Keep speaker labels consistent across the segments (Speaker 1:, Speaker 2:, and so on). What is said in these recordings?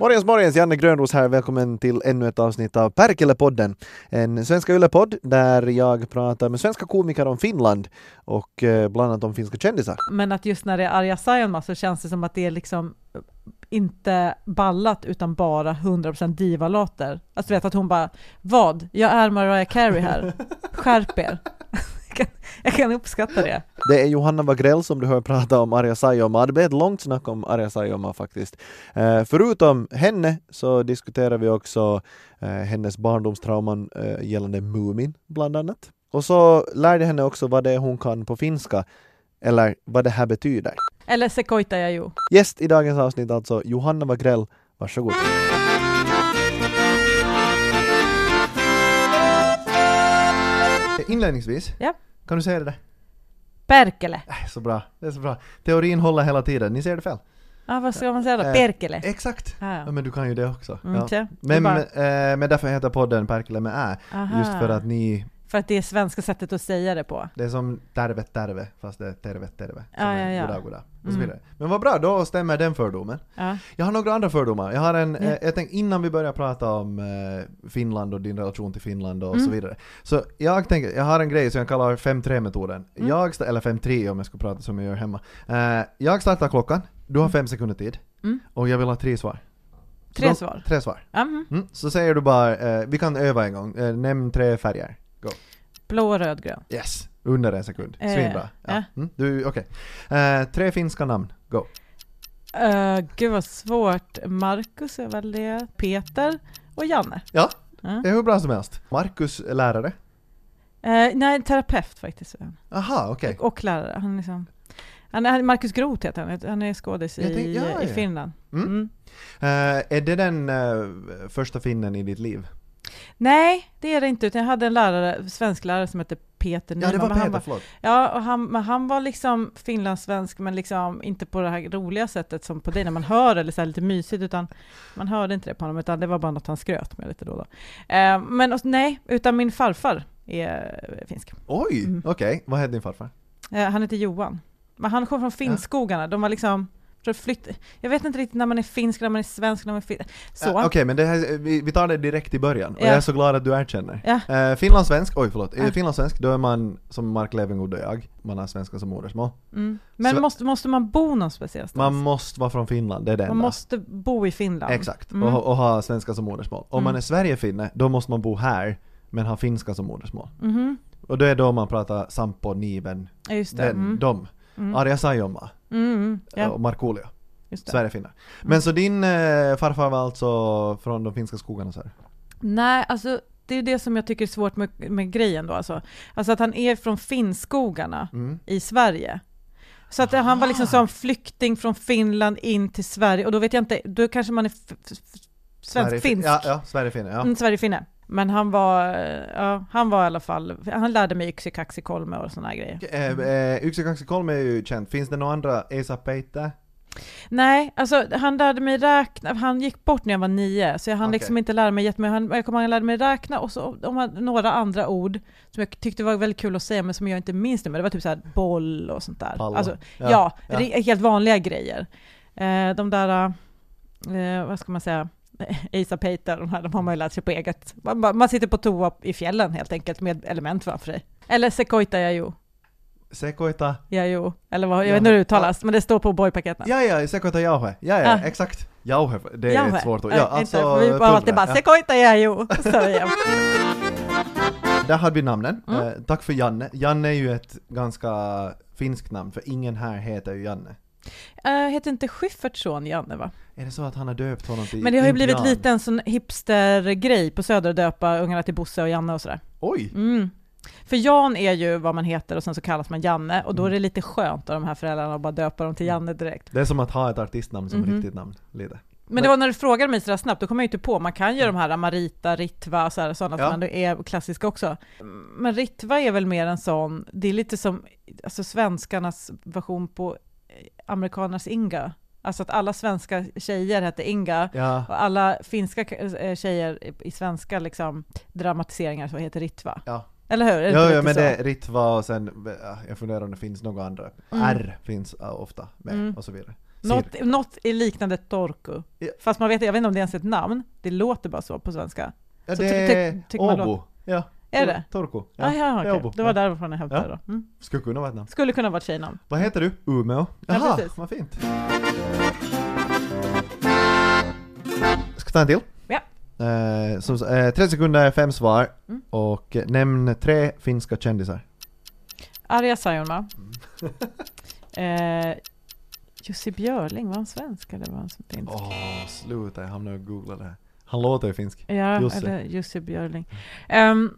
Speaker 1: Morgens, morgens! Janne Grönros här. Välkommen till ännu ett avsnitt av Perkele-podden. En svenska yllepodd där jag pratar med svenska komiker om Finland och eh, bland annat om finska kändisar.
Speaker 2: Men att just när det är arga Saijonmaa så känns det som att det är liksom inte ballat utan bara 100% divalater. Alltså du vet att hon bara Vad? Jag är Mariah Carey här. Skärp er. Jag kan, jag kan uppskatta det.
Speaker 1: Det är Johanna Wagrell som du hör prata om Arja Saijonmaa. Det blev ett långt snack om Arja Saijonmaa faktiskt. Eh, förutom henne så diskuterar vi också eh, hennes barndomstrauman eh, gällande Mumin bland annat. Och så lärde henne också vad det är hon kan på finska, eller vad det här betyder.
Speaker 2: Eller Sekoitajajo.
Speaker 1: Gäst i dagens avsnitt alltså Johanna Wagrell. Varsågod. Inledningsvis,
Speaker 2: Ja.
Speaker 1: kan du säga det där?
Speaker 2: Perkele.
Speaker 1: Äh, Så bra, det är så bra. Teorin håller hela tiden, ni ser det fel.
Speaker 2: Ja, vad ska man säga då?
Speaker 1: Eh,
Speaker 2: Perkele.
Speaker 1: Exakt!
Speaker 2: Ja, ja.
Speaker 1: Ja, men du kan ju det också.
Speaker 2: Mm,
Speaker 1: Ja.
Speaker 2: tja.
Speaker 1: Men,
Speaker 2: Det är
Speaker 1: eh, men därför heter podden Perkele med Ä.
Speaker 2: Aha.
Speaker 1: Just för att ni,
Speaker 2: För att det är svenska sättet att säga det på.
Speaker 1: det är som tervet terve, fast det är tervet terve.
Speaker 2: Ja,
Speaker 1: Som är
Speaker 2: ja, ja.
Speaker 1: Goda, goda. Och så
Speaker 2: Mm.
Speaker 1: vidare. Men vad bra, då stämmer den fördomen.
Speaker 2: Ja.
Speaker 1: Jag har några andra fördomar. Jag har en,
Speaker 2: Ja.
Speaker 1: eh, jag tänkte innan vi börjar prata om eh, Finland och din relation till Finland och så
Speaker 2: Mm.
Speaker 1: vidare. Så jag tänker, jag har en grej som jag kallar 5-3-metoden.
Speaker 2: Mm.
Speaker 1: Jag, sta- eller 5-3 om jag ska prata som jag gör hemma. Eh, jag startar klockan, du har fem sekunder tid.
Speaker 2: Mm.
Speaker 1: Och jag vill ha tre svar. Så
Speaker 2: Tre
Speaker 1: de-
Speaker 2: svar.
Speaker 1: Tre svar.
Speaker 2: Ja, mhm.
Speaker 1: Mm. Så säger du bara, eh, vi kan öva en gång, eh, nämn tre färger. Go.
Speaker 2: Blå, röd, grön.
Speaker 1: Yes! Under en sekund.
Speaker 2: Eh,
Speaker 1: Svinbra. Ja.
Speaker 2: ja.
Speaker 1: Mm. Du, okej. Eh, tre finska namn, go.
Speaker 2: Uh, gud vad svårt. Marcus är väl det. Peter och Janne.
Speaker 1: Ja.
Speaker 2: Ja.
Speaker 1: Det är Eh, hur bra som helst. Markus är lärare.
Speaker 2: Eh, nej, terapeut faktiskt. är han.
Speaker 1: Aha, okej.
Speaker 2: Och lärare. Han är liksom, han är, Markus Groth heter han. Han är skådis
Speaker 1: Jag
Speaker 2: i,
Speaker 1: tänkte- ja,
Speaker 2: i
Speaker 1: ja.
Speaker 2: Finland.
Speaker 1: Mm.
Speaker 2: Mm.
Speaker 1: Eh, är det den eh, första finnen i ditt liv?
Speaker 2: Nej, det är det inte. Utan jag hade en lärare, svensk lärare som hette Peter
Speaker 1: Ja,
Speaker 2: Nyman.
Speaker 1: det var
Speaker 2: men
Speaker 1: Peter,
Speaker 2: han var,
Speaker 1: förlåt.
Speaker 2: ja, och han, men han var liksom finlandssvensk, men liksom inte på det här roliga sättet som på dig, när man hör eller så här lite mysigt, utan man hörde inte det på honom, utan det var bara något han skröt med lite då och då. Eh, men och, nej, utan min farfar är finsk.
Speaker 1: Oj!
Speaker 2: Mm.
Speaker 1: Okej, vad hette din farfar?
Speaker 2: Eh, Han heter Johan. Men han kom från Finnskogarna. De var liksom... tror jag Flytt, jag vet inte riktigt när man är finsk, när man är svensk, när man är fin, Så.
Speaker 1: Eh, Okej, men det här, vi, vi tar det direkt i början och
Speaker 2: Ja.
Speaker 1: jag är så glad att du erkänner.
Speaker 2: Ja.
Speaker 1: Eh, finlandssvensk, oj förlåt,
Speaker 2: Ja.
Speaker 1: eh, finlandssvensk då är man som Mark Levengood och jag, man har svenska som modersmål.
Speaker 2: Mm. Men
Speaker 1: Så-
Speaker 2: måste, måste man bo någon speciellt?
Speaker 1: Man måste vara från Finland, det är det
Speaker 2: man
Speaker 1: enda.
Speaker 2: måste bo i Finland.
Speaker 1: Exakt,
Speaker 2: Mm.
Speaker 1: och, och ha svenska som modersmål. Om man är Sverigefinne, då måste man bo här men ha finska som modersmål.
Speaker 2: Mhm.
Speaker 1: Och då är då man pratar Sampo, Niven,
Speaker 2: Ja, just det.
Speaker 1: den,
Speaker 2: Mm.
Speaker 1: de.
Speaker 2: Mm.
Speaker 1: Arja Saijonmaa
Speaker 2: Mm, mm.
Speaker 1: eh,
Speaker 2: Ja,
Speaker 1: och Markoolio.
Speaker 2: just det.
Speaker 1: Sverigefinnar.
Speaker 2: Mm.
Speaker 1: Men så din eh, farfar var alltså från de finska skogarna så här.
Speaker 2: Nej, alltså det är ju det som jag tycker är svårt med, med grejen då alltså. Alltså att han är från Finnskogarna
Speaker 1: Mm.
Speaker 2: i Sverige. Så att han var liksom
Speaker 1: Ah.
Speaker 2: som flykting från Finland in till Sverige och då vet jag inte, då kanske man är f- f- f-
Speaker 1: Sverigefin-
Speaker 2: svensk-finsk.
Speaker 1: Ja, ja Sverigefinne, ja.
Speaker 2: Mm, Sverigefinne. Men han var, eh, ja, han var i alla fall, han lärde mig yxekaxikolme och sådana grejer.
Speaker 1: Mm. Eh, Yxekaxikolm är ju känt, finns det några andra? Esa Peite?
Speaker 2: Nej, alltså han lärde mig räkna, han gick bort när jag var nio, så jag hann
Speaker 1: Okej.
Speaker 2: liksom inte lära mig jättemycket. Han, jag kommer ihåg han lärde mig räkna och så om han, några andra ord som jag tyckte var väldigt kul att säga men som jag inte minns nu, men det var typ så här boll och sånt där.
Speaker 1: Pallo.
Speaker 2: Alltså,
Speaker 1: Ja,
Speaker 2: ja,
Speaker 1: ja.
Speaker 2: re- helt vanliga grejer. Eh, de där, eh, vad ska man säga, Asa Peter, de här, de har man ju lärt sig på eget. Man, man man sitter på toa i fjällen helt enkelt med element framför sig. Eller Sekoita Jajo,
Speaker 1: Sekoita?
Speaker 2: Jajo, eller vad, jag
Speaker 1: Ja.
Speaker 2: vet inte hur det uttalas, men det står på boypaketen.
Speaker 1: Ja, ja, Sekoita Jauhe. Ja, ja,
Speaker 2: Ah.
Speaker 1: exakt. Jauhe, det är
Speaker 2: Jauhe.
Speaker 1: ett svårt ord.
Speaker 2: Nej,
Speaker 1: Ja,
Speaker 2: inte,
Speaker 1: alltså,
Speaker 2: för vi var alltid bara
Speaker 1: pulver.
Speaker 2: ”sekoita jajo”, sa
Speaker 1: Ja.
Speaker 2: jag.
Speaker 1: Där hade vi namnen.
Speaker 2: Mm.
Speaker 1: Eh, tack för Janne. Janne är ju ett ganska finskt namn, för ingen här heter ju Janne.
Speaker 2: Eh, Heter inte Schyfferts son Janne va?
Speaker 1: Är det så att han har döpt honom till
Speaker 2: Men det har ju blivit
Speaker 1: indian?
Speaker 2: lite en sån hipstergrej på Söder att döpa ungarna till Bosse och Janne och sådär.
Speaker 1: Oj!
Speaker 2: Mm. För Jan är ju vad man heter och sen så kallas man Janne och då
Speaker 1: Mm.
Speaker 2: är det lite skönt av de här föräldrarna att bara döpa dem till Janne direkt.
Speaker 1: Det är som att ha ett artistnamn som
Speaker 2: Mhm.
Speaker 1: riktigt namn, lite.
Speaker 2: Men det var när du frågade mig sådär snabbt, då kom jag ju inte på. Man kan ju de här Marita, Ritva, sådär, sådana
Speaker 1: Mm. Ja.
Speaker 2: som ändå är klassiska också. Men Ritva är väl mer en sån, det är lite som alltså, svenskarnas version på eh, amerikanernas Inga. Alltså att alla svenska tjejer hette Inga
Speaker 1: Ja.
Speaker 2: och alla finska eh, tjejer i svenska liksom, dramatiseringar så heter Ritva.
Speaker 1: Ja.
Speaker 2: Eller hur? Är det
Speaker 1: Ja,
Speaker 2: inte
Speaker 1: ja
Speaker 2: lite
Speaker 1: men
Speaker 2: så?
Speaker 1: det är Ritva och sen, eh, jag funderar om det finns några andra.
Speaker 2: Mm.
Speaker 1: R finns eh, ofta med
Speaker 2: Mm.
Speaker 1: och så vidare.
Speaker 2: Något, något är liknande Torku.
Speaker 1: Ja.
Speaker 2: Fast man vet, jag vet inte om det ens är ett namn. Det låter bara så på svenska.
Speaker 1: Ja,
Speaker 2: Så
Speaker 1: det
Speaker 2: ty- ty-
Speaker 1: är
Speaker 2: tycker man
Speaker 1: Åbo. Ja.
Speaker 2: Är det? Ah,
Speaker 1: Torko. Ja.
Speaker 2: Ja, ja,
Speaker 1: det är
Speaker 2: okej.
Speaker 1: Åbo.
Speaker 2: Det var
Speaker 1: Ja.
Speaker 2: därifrån jag hämtade
Speaker 1: Ja.
Speaker 2: det då. Mm.
Speaker 1: Skulle kunna vara ett namn.
Speaker 2: Skulle kunna vara ett tjejnamn.
Speaker 1: Vad heter du? Umeå.
Speaker 2: Ja,
Speaker 1: Jaha,
Speaker 2: precis.
Speaker 1: vad fint. Ska ta en till?
Speaker 2: Ja.
Speaker 1: Eh, som, eh, 30 sekunder, fem svar.
Speaker 2: Mm.
Speaker 1: Och eh, nämn tre finska kändisar.
Speaker 2: Arja Saijonmaa.
Speaker 1: Mm.
Speaker 2: eh, Jussi Björling, var han svensk eller var han som finsk?
Speaker 1: Åh, sluta. Jag hamnar och googlar det här. Han låter ju finsk.
Speaker 2: Ja,
Speaker 1: Jussi.
Speaker 2: eller Jussi Björling. Ehm,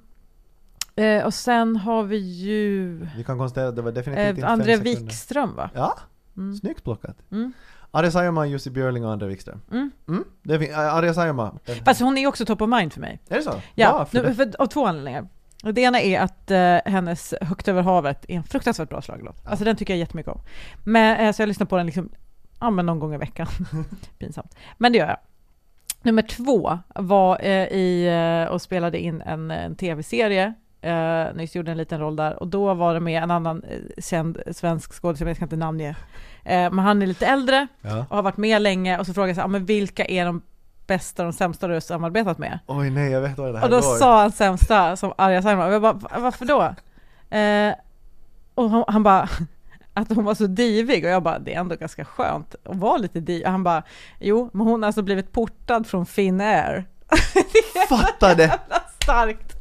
Speaker 2: eh, och sen har vi ju
Speaker 1: Vi kan konstatera att det var definitivt inte
Speaker 2: eh,
Speaker 1: fem
Speaker 2: André
Speaker 1: sekunder.
Speaker 2: Wikström va?
Speaker 1: Ja,
Speaker 2: Mm.
Speaker 1: snyggt plockat.
Speaker 2: Mm.
Speaker 1: Arja Saijonmaa, Jussi Björling och André Wikström.
Speaker 2: Mm.
Speaker 1: Mm, det är fint. Eh, Arja Saijonmaa.
Speaker 2: Fast hon är också top of mind för mig.
Speaker 1: Är det så?
Speaker 2: Ja,
Speaker 1: för
Speaker 2: nu,
Speaker 1: det.
Speaker 2: för, av två anledningar. Och Det ena är att eh, hennes Högt över havet är en fruktansvärt bra schlagerlåt.
Speaker 1: Ja.
Speaker 2: Alltså den tycker jag jättemycket om. Men, eh, så jag lyssnar på den liksom, ja, men någon gång i veckan. Pinsamt. Men det gör jag. Nummer två var eh, i, eh, och spelade in en, en tv-serie eh, nyss, gjorde en liten roll där och då var det med en annan eh, känd svensk skådespelare, jag ska inte namnge, eh, men han är lite äldre
Speaker 1: Ja.
Speaker 2: och har varit med länge och så frågade jag så här, "Ah, men vilka är de bästa och de sämsta du har samarbetat med?
Speaker 1: Oj nej, jag vet vad det här
Speaker 2: Och då
Speaker 1: var.
Speaker 2: sa han sämsta som arga Saijonmaa, och jag bara "Va- varför då? Eh, och han, han bara att hon var så divig och jag bara det är ändå ganska skönt att vara lite divig. Och han bara jo men hon har alltså blivit portad från Finnair.
Speaker 1: Fatta det!
Speaker 2: Starkt!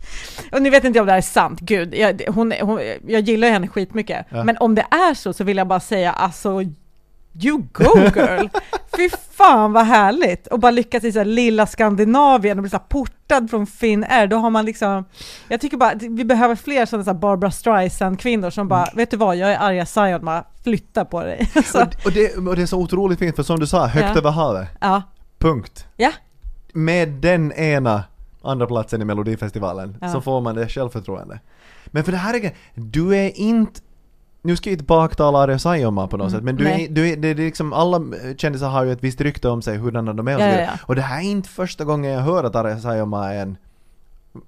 Speaker 2: Och nu vet inte jag om det här är sant, gud, jag, det- hon, hon, jag gillar ju henne skitmycket.
Speaker 1: Ja.
Speaker 2: Men om det är så så vill jag bara säga alltså You go girl! Fy fan vad härligt! Och bara lyckas i så här lilla Skandinavien och bli så här portad från Finnair, då har man liksom... Jag tycker bara att vi behöver fler sådana så här Barbara Streisand-kvinnor som
Speaker 1: Mm.
Speaker 2: bara, vet du vad, jag är arga Saijonmaa, flytta på dig! Så,
Speaker 1: Och, och, det, och det är så otroligt fint för som du sa, högt
Speaker 2: Ja.
Speaker 1: över havet.
Speaker 2: ja,
Speaker 1: Punkt.
Speaker 2: ja,
Speaker 1: Med den ena andra platsen i Melodifestivalen
Speaker 2: Ja.
Speaker 1: så får man det självförtroende. Men för det här är grejen, du är inte nu ska jag inte baktala Arja Saijonmaa på något
Speaker 2: Mm,
Speaker 1: sätt, men du
Speaker 2: nej.
Speaker 1: är, du är, det är liksom, alla kändisar har ju ett visst rykte om sig, hurdana de är och så
Speaker 2: Ja, ja,
Speaker 1: vidare.
Speaker 2: ja.
Speaker 1: Och det här är inte första gången jag hör att Arja Saijonmaa är en,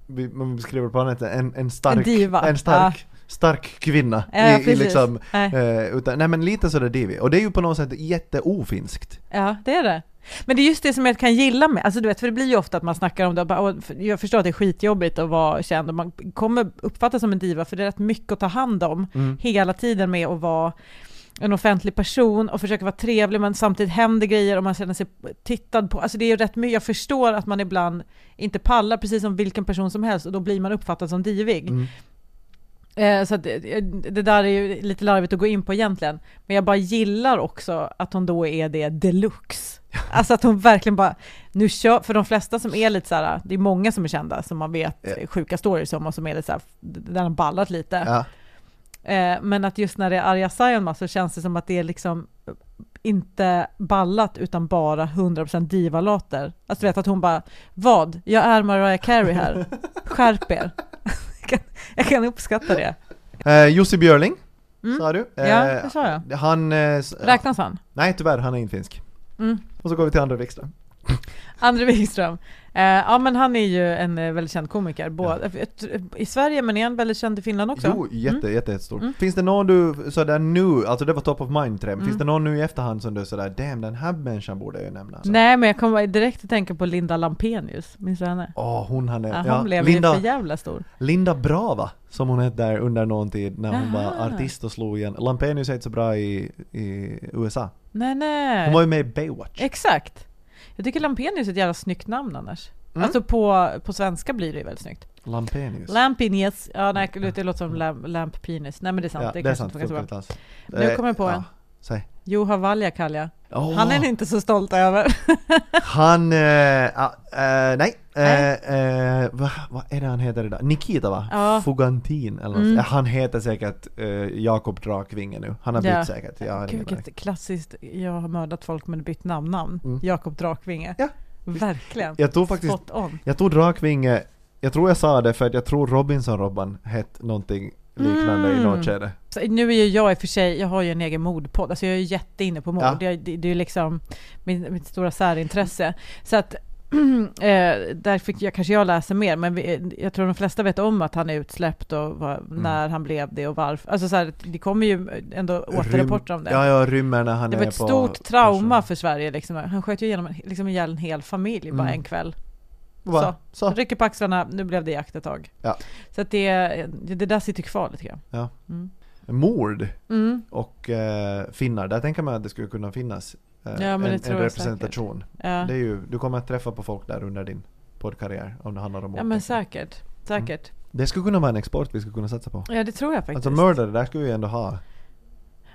Speaker 1: vi- man beskriver det på annat sätt, en, en stark,
Speaker 2: En diva.
Speaker 1: en stark, stark kvinna.
Speaker 2: ja, ja
Speaker 1: i, i
Speaker 2: eh, precis.
Speaker 1: liksom,
Speaker 2: Nej.
Speaker 1: eh, utan, nej men lite sådär divig. Och det är ju på något sätt jätteofinskt.
Speaker 2: Ja, det är det. Men det är just det som jag kan gilla med, alltså du vet, för det blir ju ofta att man snackar om det, och bara, "Åh, för- jag förstår att det är skitjobbigt att vara känd och man kommer uppfattas som en diva för det är rätt mycket att ta hand om
Speaker 1: Mm.
Speaker 2: hela tiden med att vara en offentlig person och försöka vara trevlig men samtidigt händer grejer och man känner sig tittad på. Alltså det är ju rätt mycket, jag förstår att man ibland inte pallar precis som vilken person som helst och då blir man uppfattad som divig.
Speaker 1: Mm.
Speaker 2: Eh, så att, eh, det där är ju lite larvigt att gå in på egentligen. Men jag bara gillar också att hon då är det deluxe. Alltså att hon verkligen bara, nu kör, för de flesta som är lite så här, det är många som är kända som man vet
Speaker 1: Ja.
Speaker 2: eh, sjuka stories om och som är lite så här, där de ballat lite.
Speaker 1: Ja.
Speaker 2: Eh, men att just när det är Arja Saijonmaa så känns det som att det är liksom inte ballat utan bara 100% divalater. Alltså du vet att hon bara, vad? Jag är Mariah Carey här. Skärp er. Jag kan, jag kan uppskatta det.
Speaker 1: Eh, Jussi Björling,
Speaker 2: Mm.
Speaker 1: sa du?
Speaker 2: Ja,
Speaker 1: Eh,
Speaker 2: det sa jag.
Speaker 1: Han... eh, s-
Speaker 2: Räknas han?
Speaker 1: Nej, tyvärr, han är inte finsk.
Speaker 2: Mm.
Speaker 1: Och så går vi till André Wikström.
Speaker 2: André Wikström. Eh, ja men han är ju en eh, väldigt känd komiker, både, eh, i Sverige men är han väldigt känd i Finland också?
Speaker 1: Jo, jätte,
Speaker 2: Mm.
Speaker 1: jätte, jättestor.
Speaker 2: Mm.
Speaker 1: Finns det någon du sådär nu, alltså det var top of mind trend,
Speaker 2: Mm.
Speaker 1: finns det någon nu i efterhand som du sådär damn den här människan borde jag ju nämna? Alltså.
Speaker 2: Nej men jag kommer direkt att tänka på Linda Lampenius, minns du henne?
Speaker 1: Åh, hon han är,
Speaker 2: Ja,
Speaker 1: Eh, ja,
Speaker 2: hon blev ju
Speaker 1: Linda,
Speaker 2: för jävla stor.
Speaker 1: Linda Brava som hon hette där under någon tid när hon
Speaker 2: Aha.
Speaker 1: var artist och slog igen. Lampenius är inte så bra i, i USA.
Speaker 2: Nej
Speaker 1: Hon
Speaker 2: nej.
Speaker 1: var ju med i Baywatch.
Speaker 2: Exakt. Jag tycker Lampenius är ett jävla snyggt namn annars.
Speaker 1: Mm.
Speaker 2: Alltså på, på svenska blir det ju väldigt snyggt.
Speaker 1: Lampenius.
Speaker 2: Lampinius, ja nej det det låter som lamp, lamppenis. Nej men det är sant,
Speaker 1: Mm. ja,
Speaker 2: det,
Speaker 1: det är
Speaker 2: kanske
Speaker 1: sant, funkar
Speaker 2: inte funkar så bra.
Speaker 1: inte alls.
Speaker 2: Nu
Speaker 1: Eh,
Speaker 2: kommer jag på
Speaker 1: ja,
Speaker 2: en.
Speaker 1: Säg.
Speaker 2: Juha Valjakalja.
Speaker 1: Åh.
Speaker 2: Han är ni inte så stolt över.
Speaker 1: Han, eh, ah, eh, nej,
Speaker 2: Nej.
Speaker 1: eh, eh, vad vad är det han heter idag? Nikita va?
Speaker 2: Ja.
Speaker 1: Fugantin eller något.
Speaker 2: Mm.
Speaker 1: Eh, Han heter säkert eh, Jakob Drakvinge nu. Han har bytt
Speaker 2: Ja.
Speaker 1: säkert. Jag har
Speaker 2: Gud,
Speaker 1: ingen aning.
Speaker 2: vilket klassiskt, jag har mördat folk men bytt namn-namn.
Speaker 1: Mm.
Speaker 2: Jakob Drakvinge.
Speaker 1: Ja.
Speaker 2: Verkligen.
Speaker 1: Jag tror faktiskt,
Speaker 2: Spot on.
Speaker 1: jag tror Drakvinge, jag tror jag sa det för att jag tror Robinson-Robban hette någonting liknande i
Speaker 2: Mm.
Speaker 1: något skede.
Speaker 2: Så nu är ju jag i och för sig, jag har ju en egen mordpodd, alltså jag är ju jätteinne på mord.
Speaker 1: Ja.
Speaker 2: Jag, det, det är ju liksom min, mitt stora särintresse. Så att eh, där fick jag, kanske jag läser mer, men vi, jag tror de flesta vet om att han är utsläppt och vad,
Speaker 1: Mm.
Speaker 2: när han blev det och varför. Alltså så här, det kommer ju ändå återrapporter om det.
Speaker 1: Ja, ja, rymmer när han
Speaker 2: det
Speaker 1: är
Speaker 2: var ett
Speaker 1: på
Speaker 2: stort trauma
Speaker 1: Person.
Speaker 2: för Sverige. Liksom. Han sköt ju igenom, en- liksom ihjäl en hel familj bara
Speaker 1: Mm.
Speaker 2: en kväll.
Speaker 1: Va? Så.
Speaker 2: Rycker på axlarna, nu blev det jakt ett tag.
Speaker 1: Ja.
Speaker 2: Så att det, det där sitter kvar lite grann.
Speaker 1: Ja.
Speaker 2: Mm.
Speaker 1: Mord
Speaker 2: Mm,
Speaker 1: och eh, finnar, där tänker man att det skulle kunna finnas eh,
Speaker 2: Ja, men det
Speaker 1: en,
Speaker 2: tror
Speaker 1: en
Speaker 2: jag
Speaker 1: representation.
Speaker 2: ja.
Speaker 1: Det är ju, du kommer att träffa på folk där under din poddkarriär om det handlar om
Speaker 2: ja
Speaker 1: mord.
Speaker 2: men säkert. Säkert.
Speaker 1: Det skulle kunna vara en export vi skulle kunna satsa på.
Speaker 2: Ja Mm. det tror jag faktiskt.
Speaker 1: Alltså murder, det där skulle vi ändå ha.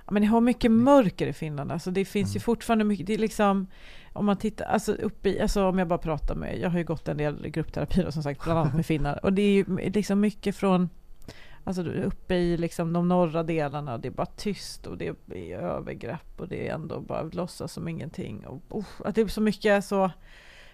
Speaker 2: Ja, men ni har mycket mörker i Finland. Alltså, det finns ju fortfarande mycket. Det är liksom, om man tittar, alltså, uppe i, alltså om jag bara pratar med, jag har ju gått en del gruppterapi då, som sagt, bland annat med finnar. Och det är ju liksom mycket från, alltså uppe i liksom de norra delarna, det är bara tyst och det är övergrepp och det är ändå bara låtsas som ingenting. Och, uff, att det är så mycket så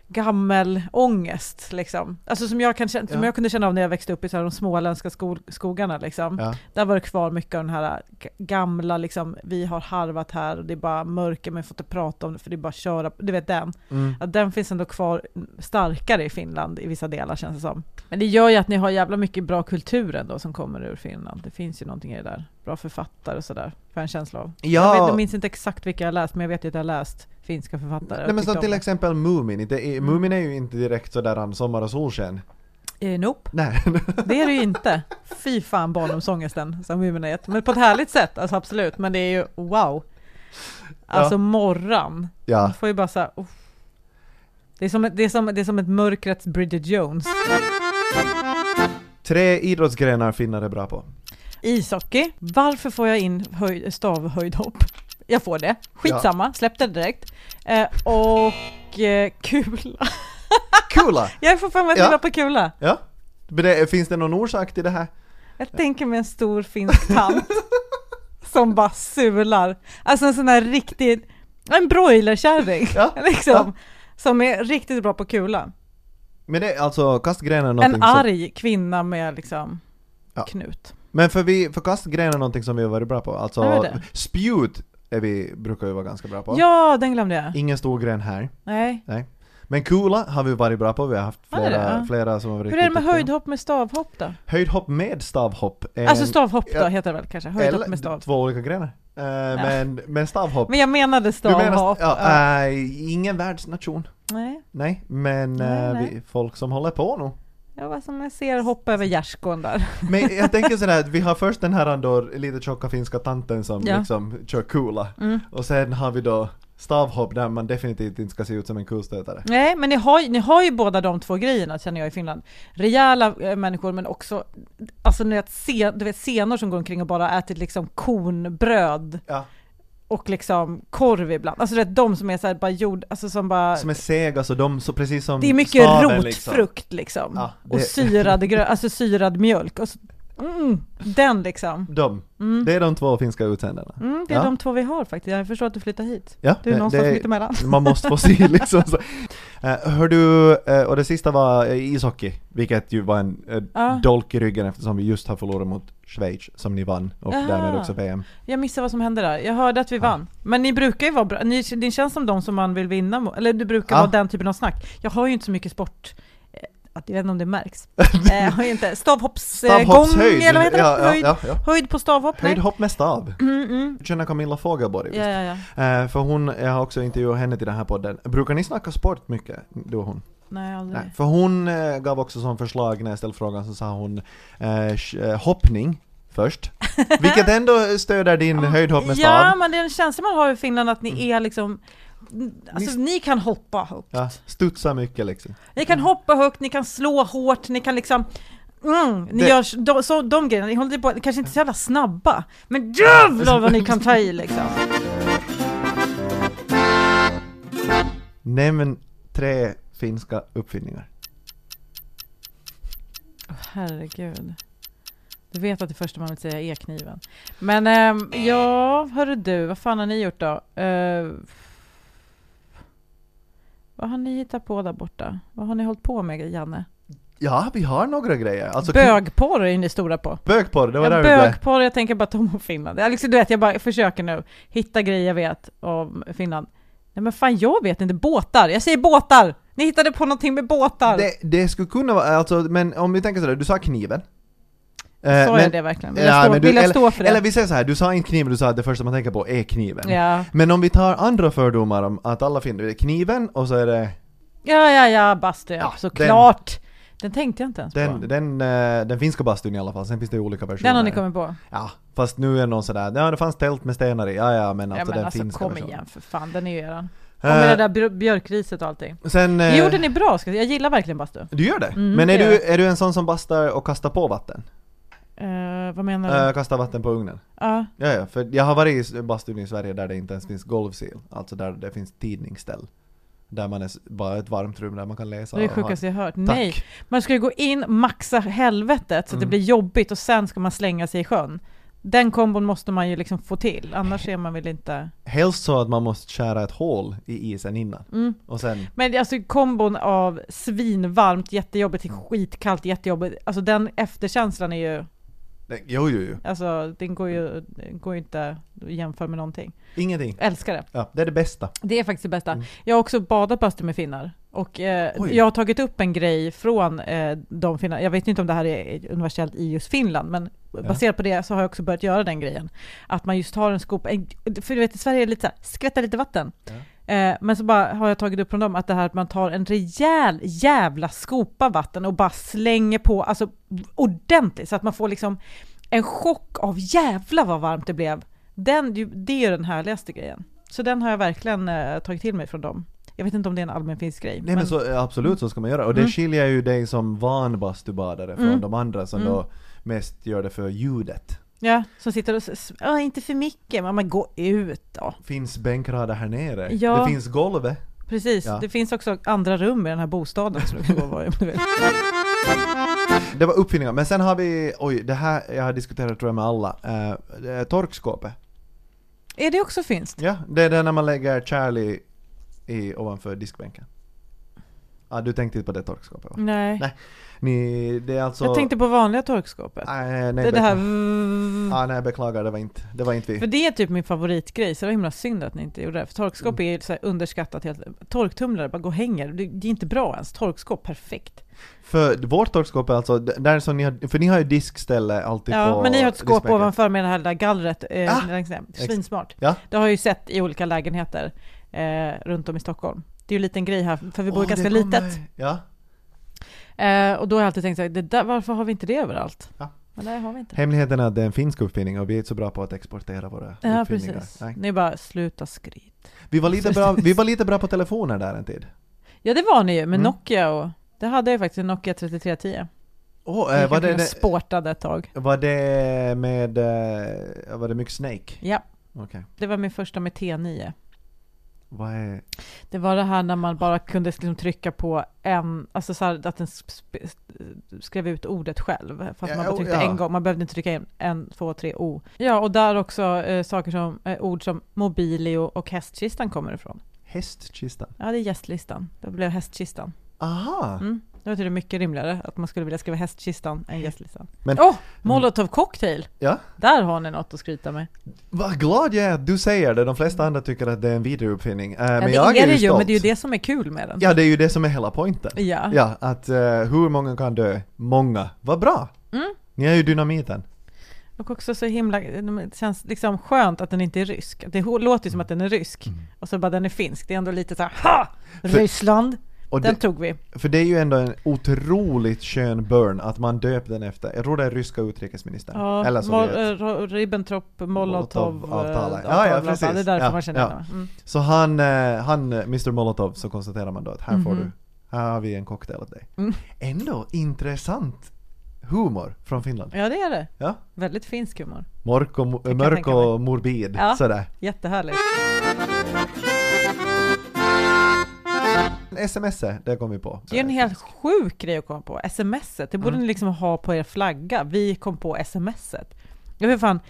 Speaker 2: gammel ångest liksom. Alltså som jag, kan, känna- som
Speaker 1: Ja.
Speaker 2: jag kunde känna av när jag växte upp i så här, de småländska skol- skogarna liksom.
Speaker 1: Ja.
Speaker 2: Där var det kvar mycket av den här g- gamla, liksom, vi har harvat här och det är bara mörker men vi får inte prata om det för det är bara att köra, på- du vet den.
Speaker 1: Mm.
Speaker 2: Att den finns ändå kvar mm, starkare i Finland i vissa delar känns det som. Men det gör ju att ni har jävla mycket bra kultur ändå som kommer ur Finland. Det finns ju någonting i det där. Bra författare och sådär, får jag en känsla av. Jag, vet, jag
Speaker 1: Ja,
Speaker 2: minns inte exakt vilka jag läst men jag vet ju att jag har läst finska författare. och
Speaker 1: nej, men
Speaker 2: tyckt
Speaker 1: som till
Speaker 2: om det. Mm.
Speaker 1: exempel Mumin. Inte, är- Mumin är ju inte direkt sådär han sommar och solsken.
Speaker 2: Eh, nope,
Speaker 1: Nej.
Speaker 2: det är det ju inte. Fy fan barndomsångesten som Mumin har gett. Men på ett härligt sätt, alltså absolut. Men det är ju wow. Alltså
Speaker 1: Ja.
Speaker 2: morran.
Speaker 1: ja.
Speaker 2: Man får ju bara såhär, oh. det, är som, ett- det, är som, det är som ett mörkrets Bridget Jones.
Speaker 1: Tre idrottsgrenar finnar är bra på.
Speaker 2: Ishockey, varför får jag in höj, stavhöjdhopp? Jag får det, skitsamma, släpp det direkt. Eh, och eh, kula.
Speaker 1: Kula!
Speaker 2: Jag är fortfarande
Speaker 1: Ja.
Speaker 2: bra på kula.
Speaker 1: Ja. Men det, finns det någon orsak till det här?
Speaker 2: Jag tänker mig en stor finsk tant som bara sular. Alltså en sån här riktig, en broilerkärring
Speaker 1: Ja,
Speaker 2: liksom.
Speaker 1: ja.
Speaker 2: Som är riktigt bra på kula.
Speaker 1: Men det är alltså kastgren är någonting
Speaker 2: En
Speaker 1: som-
Speaker 2: arg kvinna med liksom
Speaker 1: Ja.
Speaker 2: knut.
Speaker 1: Men för, vi, för kastgren är någonting som vi har varit bra på.
Speaker 2: Vad är
Speaker 1: Alltså
Speaker 2: det?
Speaker 1: spjut är vi, brukar vi vara ganska bra på.
Speaker 2: Ja, den glömde jag.
Speaker 1: Ingen stor gren här.
Speaker 2: Nej.
Speaker 1: Nej. Men kula har vi varit bra på. Vi har haft
Speaker 2: Ja, det är
Speaker 1: flera,
Speaker 2: det.
Speaker 1: flera som har varit
Speaker 2: Hur är det
Speaker 1: riktigt Eh,
Speaker 2: med
Speaker 1: duktiga.
Speaker 2: höjdhopp med stavhopp då?
Speaker 1: Höjdhopp med stavhopp. är
Speaker 2: Alltså
Speaker 1: en-
Speaker 2: stavhopp då
Speaker 1: ja,
Speaker 2: heter det väl kanske? Höjdhopp med stav.
Speaker 1: två olika grenar. Eh, Men, men stavhopp.
Speaker 2: Men jag menade
Speaker 1: Du menar,
Speaker 2: stavhopp.
Speaker 1: ja,
Speaker 2: Ja.
Speaker 1: eh, ingen världsnation.
Speaker 2: Nej,
Speaker 1: Nej, men
Speaker 2: Nej,
Speaker 1: eh,
Speaker 2: nej.
Speaker 1: Vi, folk som håller på nog.
Speaker 2: jag var som jag ser hoppa över gärdsgården där.
Speaker 1: Men jag tänker sådär att vi har först den här då lite tjocka finska tanten som
Speaker 2: Ja. Mm.
Speaker 1: liksom kör kula. Och sen har vi då stavhopp där man definitivt inte ska se ut som en kulstötare.
Speaker 2: Nej, men ni har, ju- ni har ju båda de två grejerna känner jag i Finland. Rejäla eh, människor men också, alltså ni vet, se, du vet senor som går omkring och bara ätit liksom kornbröd
Speaker 1: Ja,
Speaker 2: och liksom korv ibland. Alltså du vet de som är så här bara jord, alltså som bara
Speaker 1: som är sega så de, så precis som
Speaker 2: Det är mycket
Speaker 1: staven
Speaker 2: rotfrukt liksom.
Speaker 1: Ja,
Speaker 2: Och
Speaker 1: det-
Speaker 2: syrad, grö- alltså syrad mjölk. Och så, mm, den liksom.
Speaker 1: De. Det är de två finska utsändarna.
Speaker 2: Mm, det är
Speaker 1: Ja.
Speaker 2: de två vi har faktiskt. Jag förstår att du flyttar hit.
Speaker 1: Ja,
Speaker 2: Du är
Speaker 1: det-
Speaker 2: någonstans
Speaker 1: det-
Speaker 2: mittemellan.
Speaker 1: Man måste få se liksom så. Eh, Hör du, eh, och det sista var eh, ishockey, vilket ju var en eh,
Speaker 2: Ja.
Speaker 1: dolk i ryggen eftersom vi just har förlorat mot Schweiz som ni vann och
Speaker 2: Aha.
Speaker 1: därmed också VM.
Speaker 2: Jag missade vad som hände där. Jag hörde att vi vann. Men ni brukar ju vara bra. Ni, ni känns som de som man vill vinna mot. Eller du brukar
Speaker 1: Ja.
Speaker 2: vara den typen av snack. Jag har ju inte så mycket sport. eh, att- Jag vet inte om det märks. Eh, Jag har ju inte stavhoppsgång
Speaker 1: Stavhoppshöjd!
Speaker 2: eller vad heter det?
Speaker 1: Ja, ja,
Speaker 2: höjd,
Speaker 1: ja, ja.
Speaker 2: höjd på stavhopp? nej.
Speaker 1: Höjdhopp med stav.
Speaker 2: Mm, mm.
Speaker 1: Du känner Camilla Fogelborg visst?
Speaker 2: Ja, ja, ja.
Speaker 1: Eh, för hon, jag har också intervjuat henne till den här podden. Brukar ni snacka sport mycket, du och hon?
Speaker 2: Nej, aldrig.
Speaker 1: Nej. För hon eh, gav också som förslag när jag ställde frågan så sa hon eh, sh- eh, hoppning först. Vilket ändå stöder din höjdhopp med
Speaker 2: Ah. Ja,
Speaker 1: stav. Mm.
Speaker 2: men det är en känsla man har i Finland att ni är liksom Alltså ni kan hoppa högt.
Speaker 1: Ja, studsa mycket liksom.
Speaker 2: Ni kan hoppa högt, ni kan slå hårt, ni kan liksom Mm, ni
Speaker 1: Det-
Speaker 2: gör s- de, så, de grejerna, ni håller inte på, kanske inte så jävla snabba, men jävlar vad ni kan ta i liksom!
Speaker 1: Nämn tre finska uppfinningar.
Speaker 2: Herregud. Du vet att det första man vill säga är kniven. Men ehm, ja, hörru du, vad fan har ni gjort då? Eh, vad har ni hittat på där borta? Vad har ni hållit på med, Janne?
Speaker 1: Ja, vi har några grejer. Alltså,
Speaker 2: Bögporr är ni stora på.
Speaker 1: Bögporr, det var
Speaker 2: Jag
Speaker 1: där vi blev.
Speaker 2: bögporr, jag tänker bara Tom och Finland. Alex, du vet, jag bara försöker nu hitta grejer jag vet om Finland. Nej men fan jag vet inte, båtar! Jag säger båtar! Ni hittade på någonting med båtar!
Speaker 1: Det, det skulle kunna vara, alltså, men om vi tänker sådär, du sa kniven. Eh,
Speaker 2: Sa
Speaker 1: men-
Speaker 2: jag det verkligen? Vill jag,
Speaker 1: Ja,
Speaker 2: stå,
Speaker 1: men du-
Speaker 2: vill jag
Speaker 1: eller,
Speaker 2: stå för det?
Speaker 1: Eller vi säger så här, du sa inte kniven, du sa att det första man tänker på är kniven.
Speaker 2: ja.
Speaker 1: Men om vi tar andra fördomar om att alla finner, det är kniven och så är det
Speaker 2: ja, ja, ja, bastu, ja,
Speaker 1: Ja,
Speaker 2: såklart! Den, tänkte jag inte ens
Speaker 1: den,
Speaker 2: på.
Speaker 1: den, eh, den finska bastun i alla fall, sen finns det ju olika versioner.
Speaker 2: Den har ni kommit på?
Speaker 1: Ja, fast nu är någon sådär, ja det fanns tält med stenar i, ja ja men alltså
Speaker 2: ja men
Speaker 1: den
Speaker 2: alltså
Speaker 1: finska
Speaker 2: kom
Speaker 1: versionen.
Speaker 2: igen för fan, den är ju eran. Och
Speaker 1: Eh,
Speaker 2: med det där björ- björkriset och allting.
Speaker 1: Sen,
Speaker 2: Det
Speaker 1: eh,
Speaker 2: gjorde ni bra, ska jag säga. jag gillar verkligen bastu.
Speaker 1: Du gör det?
Speaker 2: Mm,
Speaker 1: men är
Speaker 2: det
Speaker 1: du,
Speaker 2: gör
Speaker 1: är du en sån som bastar och kastar på vatten?
Speaker 2: Eh, vad menar du?
Speaker 1: Mm. kastar vatten på ugnen?
Speaker 2: Ja.
Speaker 1: Ja, ja, för jag har varit i s- bastun i Sverige där det inte ens finns golvsil, alltså där det finns tidningsställ. Där man är s- bara ett varmt rum där man kan läsa.
Speaker 2: Det är det
Speaker 1: och ha-
Speaker 2: sjukaste jag hört.
Speaker 1: Tack.
Speaker 2: Nej, man ska ju gå in, maxa helvetet så att det
Speaker 1: Mm.
Speaker 2: blir jobbigt och sen ska man slänga sig i sjön. Den kombon måste man ju liksom få till, annars är man väl inte...
Speaker 1: Helst så att man måste skära ett hål i isen innan.
Speaker 2: Mm.
Speaker 1: Och sen,
Speaker 2: Men alltså kombon av svinvarmt, jättejobbigt till skitkallt, jättejobbigt. Alltså den efterkänslan är ju...
Speaker 1: nej, jo jo jo,
Speaker 2: Alltså den går ju, den går ju inte att jämföra med någonting.
Speaker 1: ingenting.
Speaker 2: Älskar det.
Speaker 1: Ja, det är det bästa.
Speaker 2: Det är faktiskt det bästa.
Speaker 1: Mm.
Speaker 2: Jag har också badat bastu med finnar. Och eh,
Speaker 1: Oj.
Speaker 2: jag har tagit upp en grej från eh, de finnar. Jag vet inte om det här är universellt i just Finland, men baserat på det så har jag också börjat göra den grejen. Att man just har en skopa, en- för du vet i Sverige är det lite så här, skvätta lite vatten. Eh, men så bara har jag tagit upp från dem att det här att man tar en rejäl jävla skopa vatten och bara slänger på, alltså ordentligt, så att man får liksom en chock av jävla vad varmt det blev. Den, det är ju den härligaste grejen. Så den har jag verkligen eh, tagit till mig från dem. Jag vet inte om det är en allmän finsk grej.
Speaker 1: Nej men, så, eh, absolut så ska man göra. Och det
Speaker 2: Mm.
Speaker 1: skiljer ju dig som van bastubadare från
Speaker 2: Mm.
Speaker 1: de andra som
Speaker 2: Mm.
Speaker 1: då mest gör det för ljudet.
Speaker 2: Ja, som sitter och s- s- "Åh, inte för mycket, men man går ut då.
Speaker 1: Finns bänkrader här nere?
Speaker 2: Ja.
Speaker 1: Det finns golvet?
Speaker 2: Precis,
Speaker 1: Ja.
Speaker 2: det finns också andra rum i den här bostaden som du får vara i om du vill.
Speaker 1: Det var uppfinningar. Men sen har vi, oj, det här jag har diskuterat tror jag med alla. Eh, eh, torkskåpet.
Speaker 2: Är det också finskt?
Speaker 1: Ja, det är det när man lägger Charlie i, ovanför diskbänken. Ja, du tänkte inte på det torkskåpet va?
Speaker 2: Nej.
Speaker 1: Nej, Ni, det är alltså... Ah,
Speaker 2: Mm. Jag tänkte på vanliga torkskåpet.
Speaker 1: Nej,
Speaker 2: det,
Speaker 1: nej,
Speaker 2: är det här...
Speaker 1: bekla- Ja, nej, jag beklagar, det var inte, det var inte vi.
Speaker 2: För det är typ min favoritgrej, så det var himla synd att ni inte gjorde det. För torkskåp är ju så här underskattat helt. Torktumlare bara går och hänger. Det, det är inte bra ens. Torkskåp, perfekt.
Speaker 1: För vårt torkskåp är alltså, d- där som ni har, för ni har ju diskställe alltid på
Speaker 2: Ja, men ni har ett skåp
Speaker 1: diskbänken.
Speaker 2: ovanför med det här lilla gallret. Eh,
Speaker 1: Ah!
Speaker 2: längs ner. Svinsmart.
Speaker 1: Ja.
Speaker 2: Det har jag ju sett i olika lägenheter eh, runt om i Stockholm. Det är ju en liten grej här, för vi bor
Speaker 1: Åh,
Speaker 2: ganska
Speaker 1: det kommer-
Speaker 2: litet.
Speaker 1: Ja,
Speaker 2: Eh, och då har jag alltid tänkt så här, det där, varför har vi inte det överallt?
Speaker 1: Ja.
Speaker 2: Men det har vi inte.
Speaker 1: hemligheten är att det är en finsk uppfinning och vi är inte så bra på att exportera våra
Speaker 2: Ja,
Speaker 1: uppfinningar.
Speaker 2: precis.
Speaker 1: Nej.
Speaker 2: Ni bara, sluta skryt.
Speaker 1: Vi, var lite bra, vi var lite bra på telefoner där en tid.
Speaker 2: Ja, det var ni ju, med
Speaker 1: Mm.
Speaker 2: Nokia och... Det hade jag ju faktiskt, en Nokia 3310.
Speaker 1: Åh, eh, var,
Speaker 2: Jag kanske
Speaker 1: det,
Speaker 2: den
Speaker 1: det,
Speaker 2: sportade ett tag.
Speaker 1: var det med, eh, var det mycket Snake?
Speaker 2: Ja,
Speaker 1: Okej.
Speaker 2: det var min första med T9.
Speaker 1: Vad är,
Speaker 2: Det var det här när man bara kunde liksom trycka på en, alltså så här, att den sp- sp- skrev ut ordet själv. Fast
Speaker 1: Ja,
Speaker 2: man bara tryckte
Speaker 1: ja.
Speaker 2: en gång, man behövde inte trycka in en, två, tre O. Ja, och där också eh, saker som, eh, ord som mobilio och hästkistan kommer ifrån.
Speaker 1: Hästkistan?
Speaker 2: Ja, det är gästlistan. Det blev hästkistan.
Speaker 1: Aha!
Speaker 2: Mm. Det var tydligen mycket rimligare att man skulle vilja skriva hästkistan än gästlistan.
Speaker 1: Men-
Speaker 2: Åh! Oh, Molotov cocktail!
Speaker 1: Ja,
Speaker 2: Där har ni något att skryta med.
Speaker 1: vad glad jag är att du säger det. De flesta andra tycker att det är en vidareuppfinning. Eh, men
Speaker 2: det
Speaker 1: jag
Speaker 2: är
Speaker 1: är,
Speaker 2: det ju,
Speaker 1: stolt.
Speaker 2: men det är ju det som är kul med den.
Speaker 1: Ja, det är ju det som är hela poängen.
Speaker 2: Ja.
Speaker 1: Ja, att eh, hur många kan dö? Många. Vad bra!
Speaker 2: Mm.
Speaker 1: Ni är ju dynamiten.
Speaker 2: Och också så himla, det känns liksom skönt att den inte är rysk. Det hå- låter ju som att den är rysk.
Speaker 1: Mm.
Speaker 2: Och så bara den är finsk. Det är ändå lite så här, ha! Ryssland!
Speaker 1: Och
Speaker 2: Den
Speaker 1: det,
Speaker 2: tog vi.
Speaker 1: för det är ju ändå en otroligt skön burn att man döpte den efter, jag tror det är ryska utrikesministern.
Speaker 2: Ja,
Speaker 1: Eller
Speaker 2: Mol-
Speaker 1: Sovjet.
Speaker 2: eh, Ro- Ribbentrop, Molotov, eh,
Speaker 1: Molotov-avtalet. Ja, ja,
Speaker 2: avtalet.
Speaker 1: precis.
Speaker 2: Det är därför
Speaker 1: Ja,
Speaker 2: man känner
Speaker 1: ja.
Speaker 2: igen dem. Mm.
Speaker 1: Så han, eh, han, eh, Mr Molotov, så konstaterar man då att här får
Speaker 2: Mhm.
Speaker 1: du, här har vi en cocktail åt dig.
Speaker 2: Mm.
Speaker 1: Ändå intressant humor från Finland.
Speaker 2: Ja, det är det.
Speaker 1: Ja.
Speaker 2: Väldigt finsk humor.
Speaker 1: Mörk och, mo-
Speaker 2: kan
Speaker 1: mörk
Speaker 2: tänka mig.
Speaker 1: och morbid,
Speaker 2: Ja.
Speaker 1: sådär.
Speaker 2: Jättehärligt.
Speaker 1: Sms, det kom vi på.
Speaker 2: Det är en helt sjuk grej att komma på. Smset, det borde
Speaker 1: Mm.
Speaker 2: ni liksom ha på er flagga. Vi kom på smset. Ja, för fan,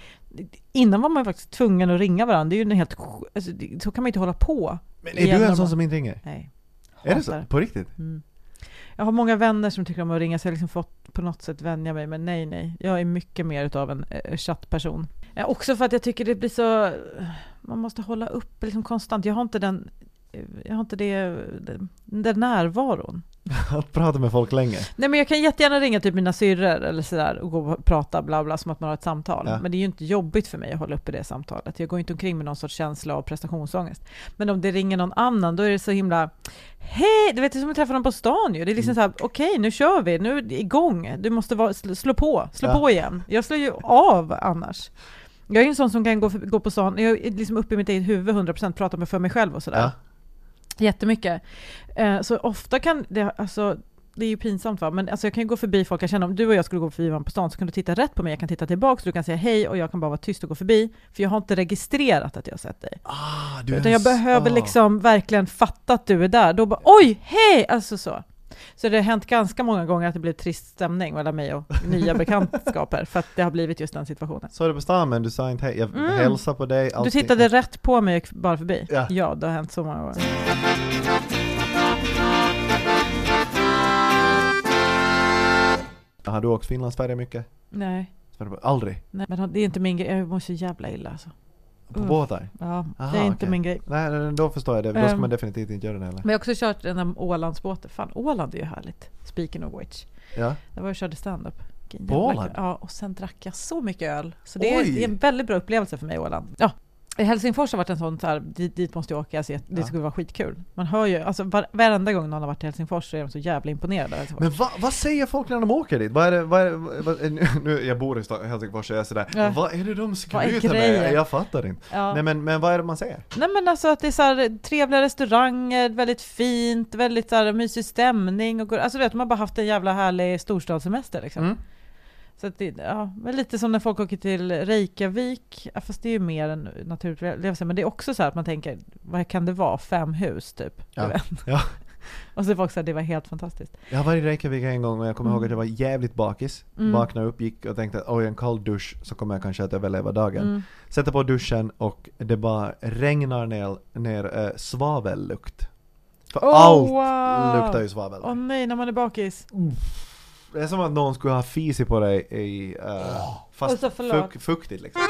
Speaker 2: innan var man faktiskt tvungen att ringa varandra. Det är ju en helt, sj- alltså, det- så kan man inte hålla på.
Speaker 1: Men är du
Speaker 2: Igenom-
Speaker 1: en sån som inte ringer?
Speaker 2: Nej.
Speaker 1: Är det
Speaker 2: Hatar
Speaker 1: så? På riktigt?
Speaker 2: Mm. Jag har många vänner som tycker om att ringa så jag har liksom fått på något sätt vänja mig men nej nej. Jag är mycket mer utav en eh, chattperson. Eh, också för att jag tycker det blir så... Man måste hålla uppe liksom konstant. Jag har inte den jag har inte det, eh, den närvaron.
Speaker 1: Att prata med folk länge.
Speaker 2: Nej men jag kan jättegärna ringa typ mina syrror eller sådär och gå och prata bla bla som att man har ett samtal.
Speaker 1: Ja.
Speaker 2: Men det är ju inte jobbigt för mig att hålla uppe det samtalet. Jag går inte omkring med någon sorts känsla av prestationsångest. Men om det ringer någon annan då är det så himla Hej! Du vet det är som att träffa någon på stan ju. Det är
Speaker 1: Mm.
Speaker 2: liksom såhär, okej nu kör vi, nu är det igång. Du måste vara, sl- slå på, slå
Speaker 1: Ja.
Speaker 2: på igen. Jag slår ju av annars. Jag är ju en sån som kan gå, gå på stan, jag är liksom uppe i mitt eget huvud 100%, prata med för mig själv och sådär.
Speaker 1: Ja.
Speaker 2: Jättemycket. Eh, så ofta kan det, alltså det är ju pinsamt va, men alltså jag kan ju gå förbi folk jag känner, om du och jag skulle gå förbi varandra på stan så kan du titta rätt på mig, jag kan titta tillbaka, så du kan säga hej och jag kan bara vara tyst och gå förbi, för jag har inte registrerat att jag har sett dig.
Speaker 1: Ah, du är
Speaker 2: Utan jag
Speaker 1: s-
Speaker 2: behöver
Speaker 1: ah.
Speaker 2: liksom verkligen fatta att du är där, då bara oj, hej! Alltså så. Så det har hänt ganska många gånger att det blir trist stämning mellan mig och nya bekantskaper, för att det har blivit just den situationen.
Speaker 1: Så är det på stan men du sa inte hej. Jag
Speaker 2: Mm.
Speaker 1: hälsar på dig.
Speaker 2: Du
Speaker 1: allting.
Speaker 2: tittade rätt på mig och gick bara förbi?
Speaker 1: Ja.
Speaker 2: ja, det har hänt så många gånger.
Speaker 1: Har du åkt Finland-Sverige mycket?
Speaker 2: Nej.
Speaker 1: Sverige- Aldrig?
Speaker 2: Nej, men det är inte min grej. Jag mår så jävla illa alltså.
Speaker 1: På
Speaker 2: Uff.
Speaker 1: båtar?
Speaker 2: Ja, det
Speaker 1: Aha,
Speaker 2: är inte
Speaker 1: okej.
Speaker 2: min grej.
Speaker 1: Nej, nej, då förstår jag det. Då ska
Speaker 2: Ehm.
Speaker 1: man definitivt inte göra det heller.
Speaker 2: Men jag har också kört den där Ålandsbåten. Fan, Åland är ju härligt. Speaking of which.
Speaker 1: Ja.
Speaker 2: Där var jag och körde stand-up. Vilken
Speaker 1: På
Speaker 2: jävla
Speaker 1: Åland?
Speaker 2: kul. Ja, och sen drack jag så mycket öl. Så det är,
Speaker 1: Oj!
Speaker 2: det är en väldigt bra upplevelse för mig, Åland. Ja. I Helsingfors har varit en sån så här, dit, dit måste jag åka, jag ser, att det
Speaker 1: Ja.
Speaker 2: skulle vara skitkul. Man hör ju, alltså var, varenda gång någon har varit i Helsingfors så är de så jävla imponerade Alltså, av Helsingfors.
Speaker 1: Men va, vad säger folk när de åker dit? Vad är det, vad är det, vad är det, nu, jag bor i Sta- Helsingfors och jag är sådär,
Speaker 2: Ja.
Speaker 1: vad är det de
Speaker 2: Vad är
Speaker 1: skryter
Speaker 2: grejen?
Speaker 1: med? Jag fattar inte.
Speaker 2: ja.
Speaker 1: Nej men, men vad är det man säger?
Speaker 2: Nej men alltså att det är så här, trevliga restauranger, väldigt fint, väldigt så här, mysig stämning och go- alltså du vet, de har bara haft en jävla härlig storstadssemester liksom.
Speaker 1: Mm.
Speaker 2: Så att det, ja, men lite som när folk åker till Reykjavik, ja, fast det är ju mer en naturupplevelse, men det är också så här att man tänker, vad kan det vara, fem hus typ?
Speaker 1: Ja,
Speaker 2: Du vet.
Speaker 1: ja.
Speaker 2: och så är folk så här, det var helt fantastiskt.
Speaker 1: Jag var i Reykjavik en gång och jag kommer
Speaker 2: Mm.
Speaker 1: ihåg att jag var jävligt bakis.
Speaker 2: Mm.
Speaker 1: Vaknade upp, gick och tänkte att oj en kall dusch så kommer jag kanske att överleva dagen.
Speaker 2: Mm.
Speaker 1: Sätter på duschen och det bara regnar ner, ner eh, svavellukt. För
Speaker 2: Åh,
Speaker 1: allt
Speaker 2: Oh, wow.
Speaker 1: luktar ju svavel.
Speaker 2: Åh nej, när man är bakis.
Speaker 1: Det är som att någon skulle ha fisit på dig i... eh, fast
Speaker 2: Alltså, förlåt.
Speaker 1: fuk, fuktigt liksom.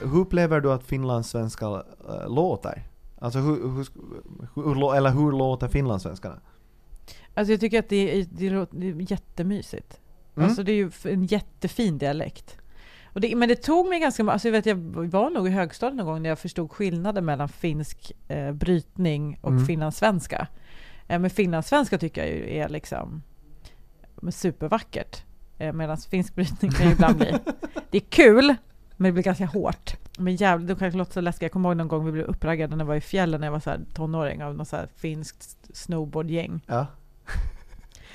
Speaker 1: Hur upplever du att finlandssvenskar eh, låter? Alltså hur, hur, sk- hur, lå- eller hur låter finlandssvenskarna?
Speaker 2: Alltså jag tycker att det är, det låter det är jättemysigt.
Speaker 1: Mm.
Speaker 2: Alltså det är ju f- en jättefin dialekt. Och det, men det tog mig ganska många, alltså jag vet jag var nog i högstadiet någon gång när jag förstod skillnaden mellan finsk eh, brytning och
Speaker 1: Mm.
Speaker 2: finlandssvenska. Eh, men finlandssvenska tycker jag ju är liksom men supervackert. Eh, Medan finsk brytning kan ju ibland bli, det är kul men det blir ganska hårt. Men jävligt, det kanske låter så läskigt. Jag kommer ihåg någon gång vi blev uppraggade när jag var i fjällen när jag var så här tonåring av något så här finskt snowboardgäng
Speaker 1: Ja.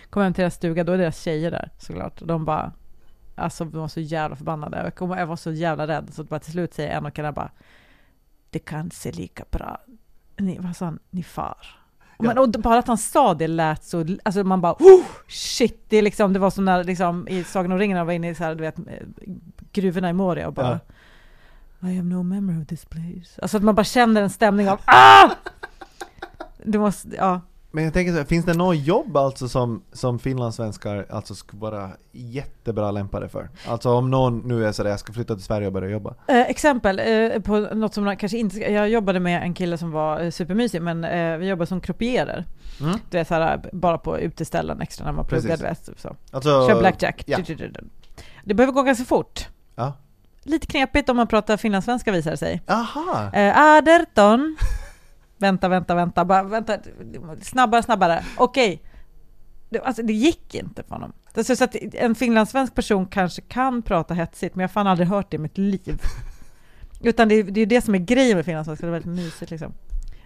Speaker 2: kom hem till deras stuga, då är deras tjejer där såklart. Och de bara, alltså de var så jävla förbannade. Jag, kom, jag var så jävla rädd så att bara till slut säger en och kan bara, det kanske är lika bra, ni, vad sa han, ni far. Och Men,
Speaker 1: Ja.
Speaker 2: och bara att han sa det lät så, alltså man bara oh, shit, det, är liksom, det var som när liksom, i Sagan om ringen när jag var inne i så här, du vet, eh, gruvorna i Moria och bara I have no memory of this place. Alltså att man bara känner en stämning av ah! Du måste, ja.
Speaker 1: Men jag tänker så här, finns det något jobb alltså som, som finlandssvenskar alltså skulle vara jättebra lämpade för? Alltså om någon nu är sådär, jag ska flytta till Sverige och börja jobba.
Speaker 2: Eh, exempel eh, på något som man kanske inte ska, Jag jobbade med en kille som var eh, supermysig, men eh, vi jobbade som cropierer.
Speaker 1: Mm.
Speaker 2: Du vet, så här, eh, bara på uteställen extra när man pluggar,
Speaker 1: Precis.
Speaker 2: du vet. Så.
Speaker 1: Alltså,
Speaker 2: Kör blackjack.
Speaker 1: ja.
Speaker 2: Du, du, du, du. Det behöver gå ganska fort.
Speaker 1: Ja.
Speaker 2: Lite knepigt om man pratar finlandssvenska visar det sig.
Speaker 1: Aha!
Speaker 2: Eh, Aderton. vänta, vänta, vänta. Bara, vänta. Snabbare, snabbare. Okej. Det, alltså, det gick inte för honom. Det är så att en finlandssvensk person kanske kan prata hetsigt, men jag har fan aldrig hört det i mitt liv. Utan det, är- det är det som är grejen med finlandssvenska, det är väldigt mysigt liksom.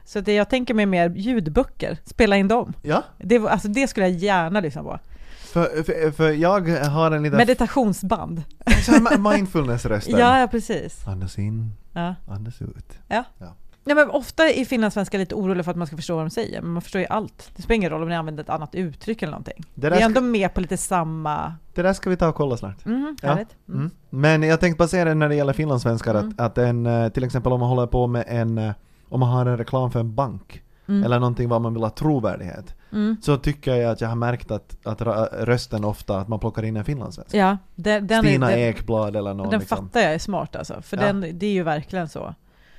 Speaker 2: Så det jag tänker mig är mer ljudböcker, spela in dem.
Speaker 1: Ja,
Speaker 2: Det, var- alltså, det skulle jag gärna lyssna på.
Speaker 1: för, för, för jag har en liten
Speaker 2: Meditationsband.
Speaker 1: så här mindfulness-rösten.
Speaker 2: Ja, ja, precis.
Speaker 1: Andas in,
Speaker 2: Ja.
Speaker 1: andas ut.
Speaker 2: Ja, men ofta är finlandssvenskar lite oroliga för att man ska förstå vad de säger, men man förstår ju allt. Det spelar ingen roll om ni använder ett annat uttryck eller någonting.
Speaker 1: Det
Speaker 2: Vi
Speaker 1: där,
Speaker 2: är
Speaker 1: ska,
Speaker 2: ändå med på lite samma...
Speaker 1: det där ska vi ta och kolla snart.
Speaker 2: Mhm,
Speaker 1: Ja.
Speaker 2: härligt. Mm.
Speaker 1: Mm. Men jag tänkte bara säga det när det gäller finlandssvenskar
Speaker 2: Mm.
Speaker 1: att, att en, eh, till exempel om man håller på med en, eh, om man har en reklam för en bank
Speaker 2: Mm.
Speaker 1: eller någonting vad man vill ha trovärdighet
Speaker 2: Mm.
Speaker 1: så tycker jag att jag har märkt att, att ra- rösten ofta, att man plockar in en finlandssvensk.
Speaker 2: Ja, den, den, är,
Speaker 1: Stina
Speaker 2: den,
Speaker 1: Ekblad eller någon
Speaker 2: den
Speaker 1: liksom.
Speaker 2: fattar jag är smart alltså. För
Speaker 1: Ja.
Speaker 2: den, det är ju verkligen så.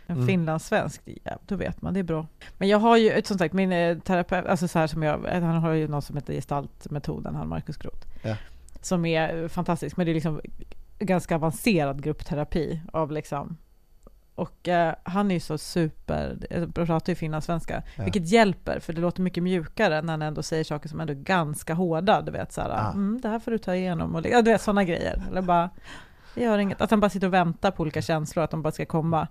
Speaker 2: En
Speaker 1: Mm.
Speaker 2: finlandssvensk, ja, då vet man, det är bra. Men jag har ju, ett- som sagt, min eh, terapeut, alltså så här som jag, han har ju något som heter gestaltmetoden, han Markus Groth.
Speaker 1: Ja.
Speaker 2: Som är eh, fantastisk, men det är liksom ganska avancerad gruppterapi av liksom och eh, han är ju så super, eh, pratar ju finlandssvenska,
Speaker 1: Ja.
Speaker 2: vilket hjälper för det låter mycket mjukare när han ändå säger saker som ändå är ganska hårda, du vet såhär,
Speaker 1: Ah.
Speaker 2: mm, det här får du ta igenom och li- ja, du vet sådana grejer. Eller bara, jag gör inget. Att han bara sitter och väntar på olika känslor, att de bara ska komma.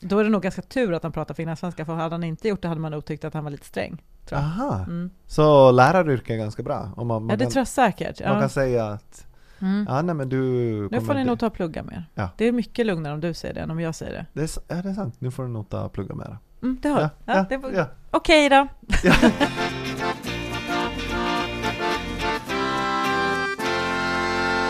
Speaker 2: Då är det nog ganska tur att han pratar finlandssvenska, för hade han inte gjort det hade man nog tyckt att han var lite sträng. Tror jag.
Speaker 1: Aha,
Speaker 2: Mm.
Speaker 1: så läraryrket är ganska bra? Om man, man,
Speaker 2: Ja, det
Speaker 1: kan,
Speaker 2: tror jag säkert.
Speaker 1: man
Speaker 2: Ja.
Speaker 1: kan säga att
Speaker 2: Mm.
Speaker 1: ja, nej, men du
Speaker 2: Nu får
Speaker 1: kommer
Speaker 2: ni
Speaker 1: inte-
Speaker 2: nog ta och plugga mer.
Speaker 1: Ja.
Speaker 2: Det är mycket lugnare om du säger det än om jag säger det.
Speaker 1: det är, s- ja, det är sant, nu får du nog ta och plugga mera.
Speaker 2: Mm, det har du. ja, det var...
Speaker 1: ja.
Speaker 2: Okej då.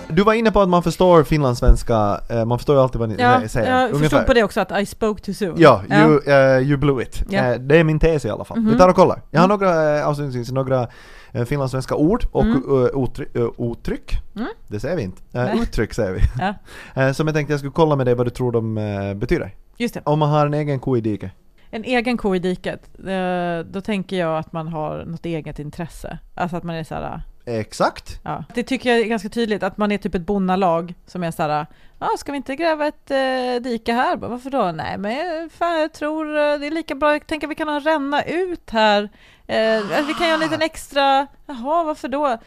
Speaker 1: Du var inne på att man förstår finlandssvenska, eh, man förstår ju alltid vad ni
Speaker 2: Ja,
Speaker 1: nej, säger.
Speaker 2: jag
Speaker 1: Ungefär.
Speaker 2: förstod på det också att I spoke too soon.
Speaker 1: Ja, you, eh, you blew it.
Speaker 2: Ja.
Speaker 1: Eh, det är min tes i alla fall.
Speaker 2: Mhm.
Speaker 1: Vi tar och kollar. Jag har
Speaker 2: Mm.
Speaker 1: några eh, avslutningsvis några eh, finlandssvenska ord och
Speaker 2: Mm.
Speaker 1: eh, utry- eh, uttryck.
Speaker 2: Mm.
Speaker 1: Det säger vi inte. Eh,
Speaker 2: Nej.
Speaker 1: uttryck säger vi.
Speaker 2: Ja.
Speaker 1: Eh, som jag tänkte jag skulle kolla med dig vad du tror de eh, betyder.
Speaker 2: Just det.
Speaker 1: Om man har en egen ko i diket.
Speaker 2: En egen ko i diket, eh, då tänker jag att man har något eget intresse. Alltså att man är såhär,
Speaker 1: Exakt.
Speaker 2: ja. Det tycker jag är ganska tydligt, att man är typ ett bonnalag som är såhär, ja ska vi inte gräva ett eh, dike här? Bara, Varför då? Nej men fan jag tror eh, det är lika bra, jag tänker vi kan ha en ränna ut här. Eh, vi kan göra en liten extra, jaha varför då? "Äh,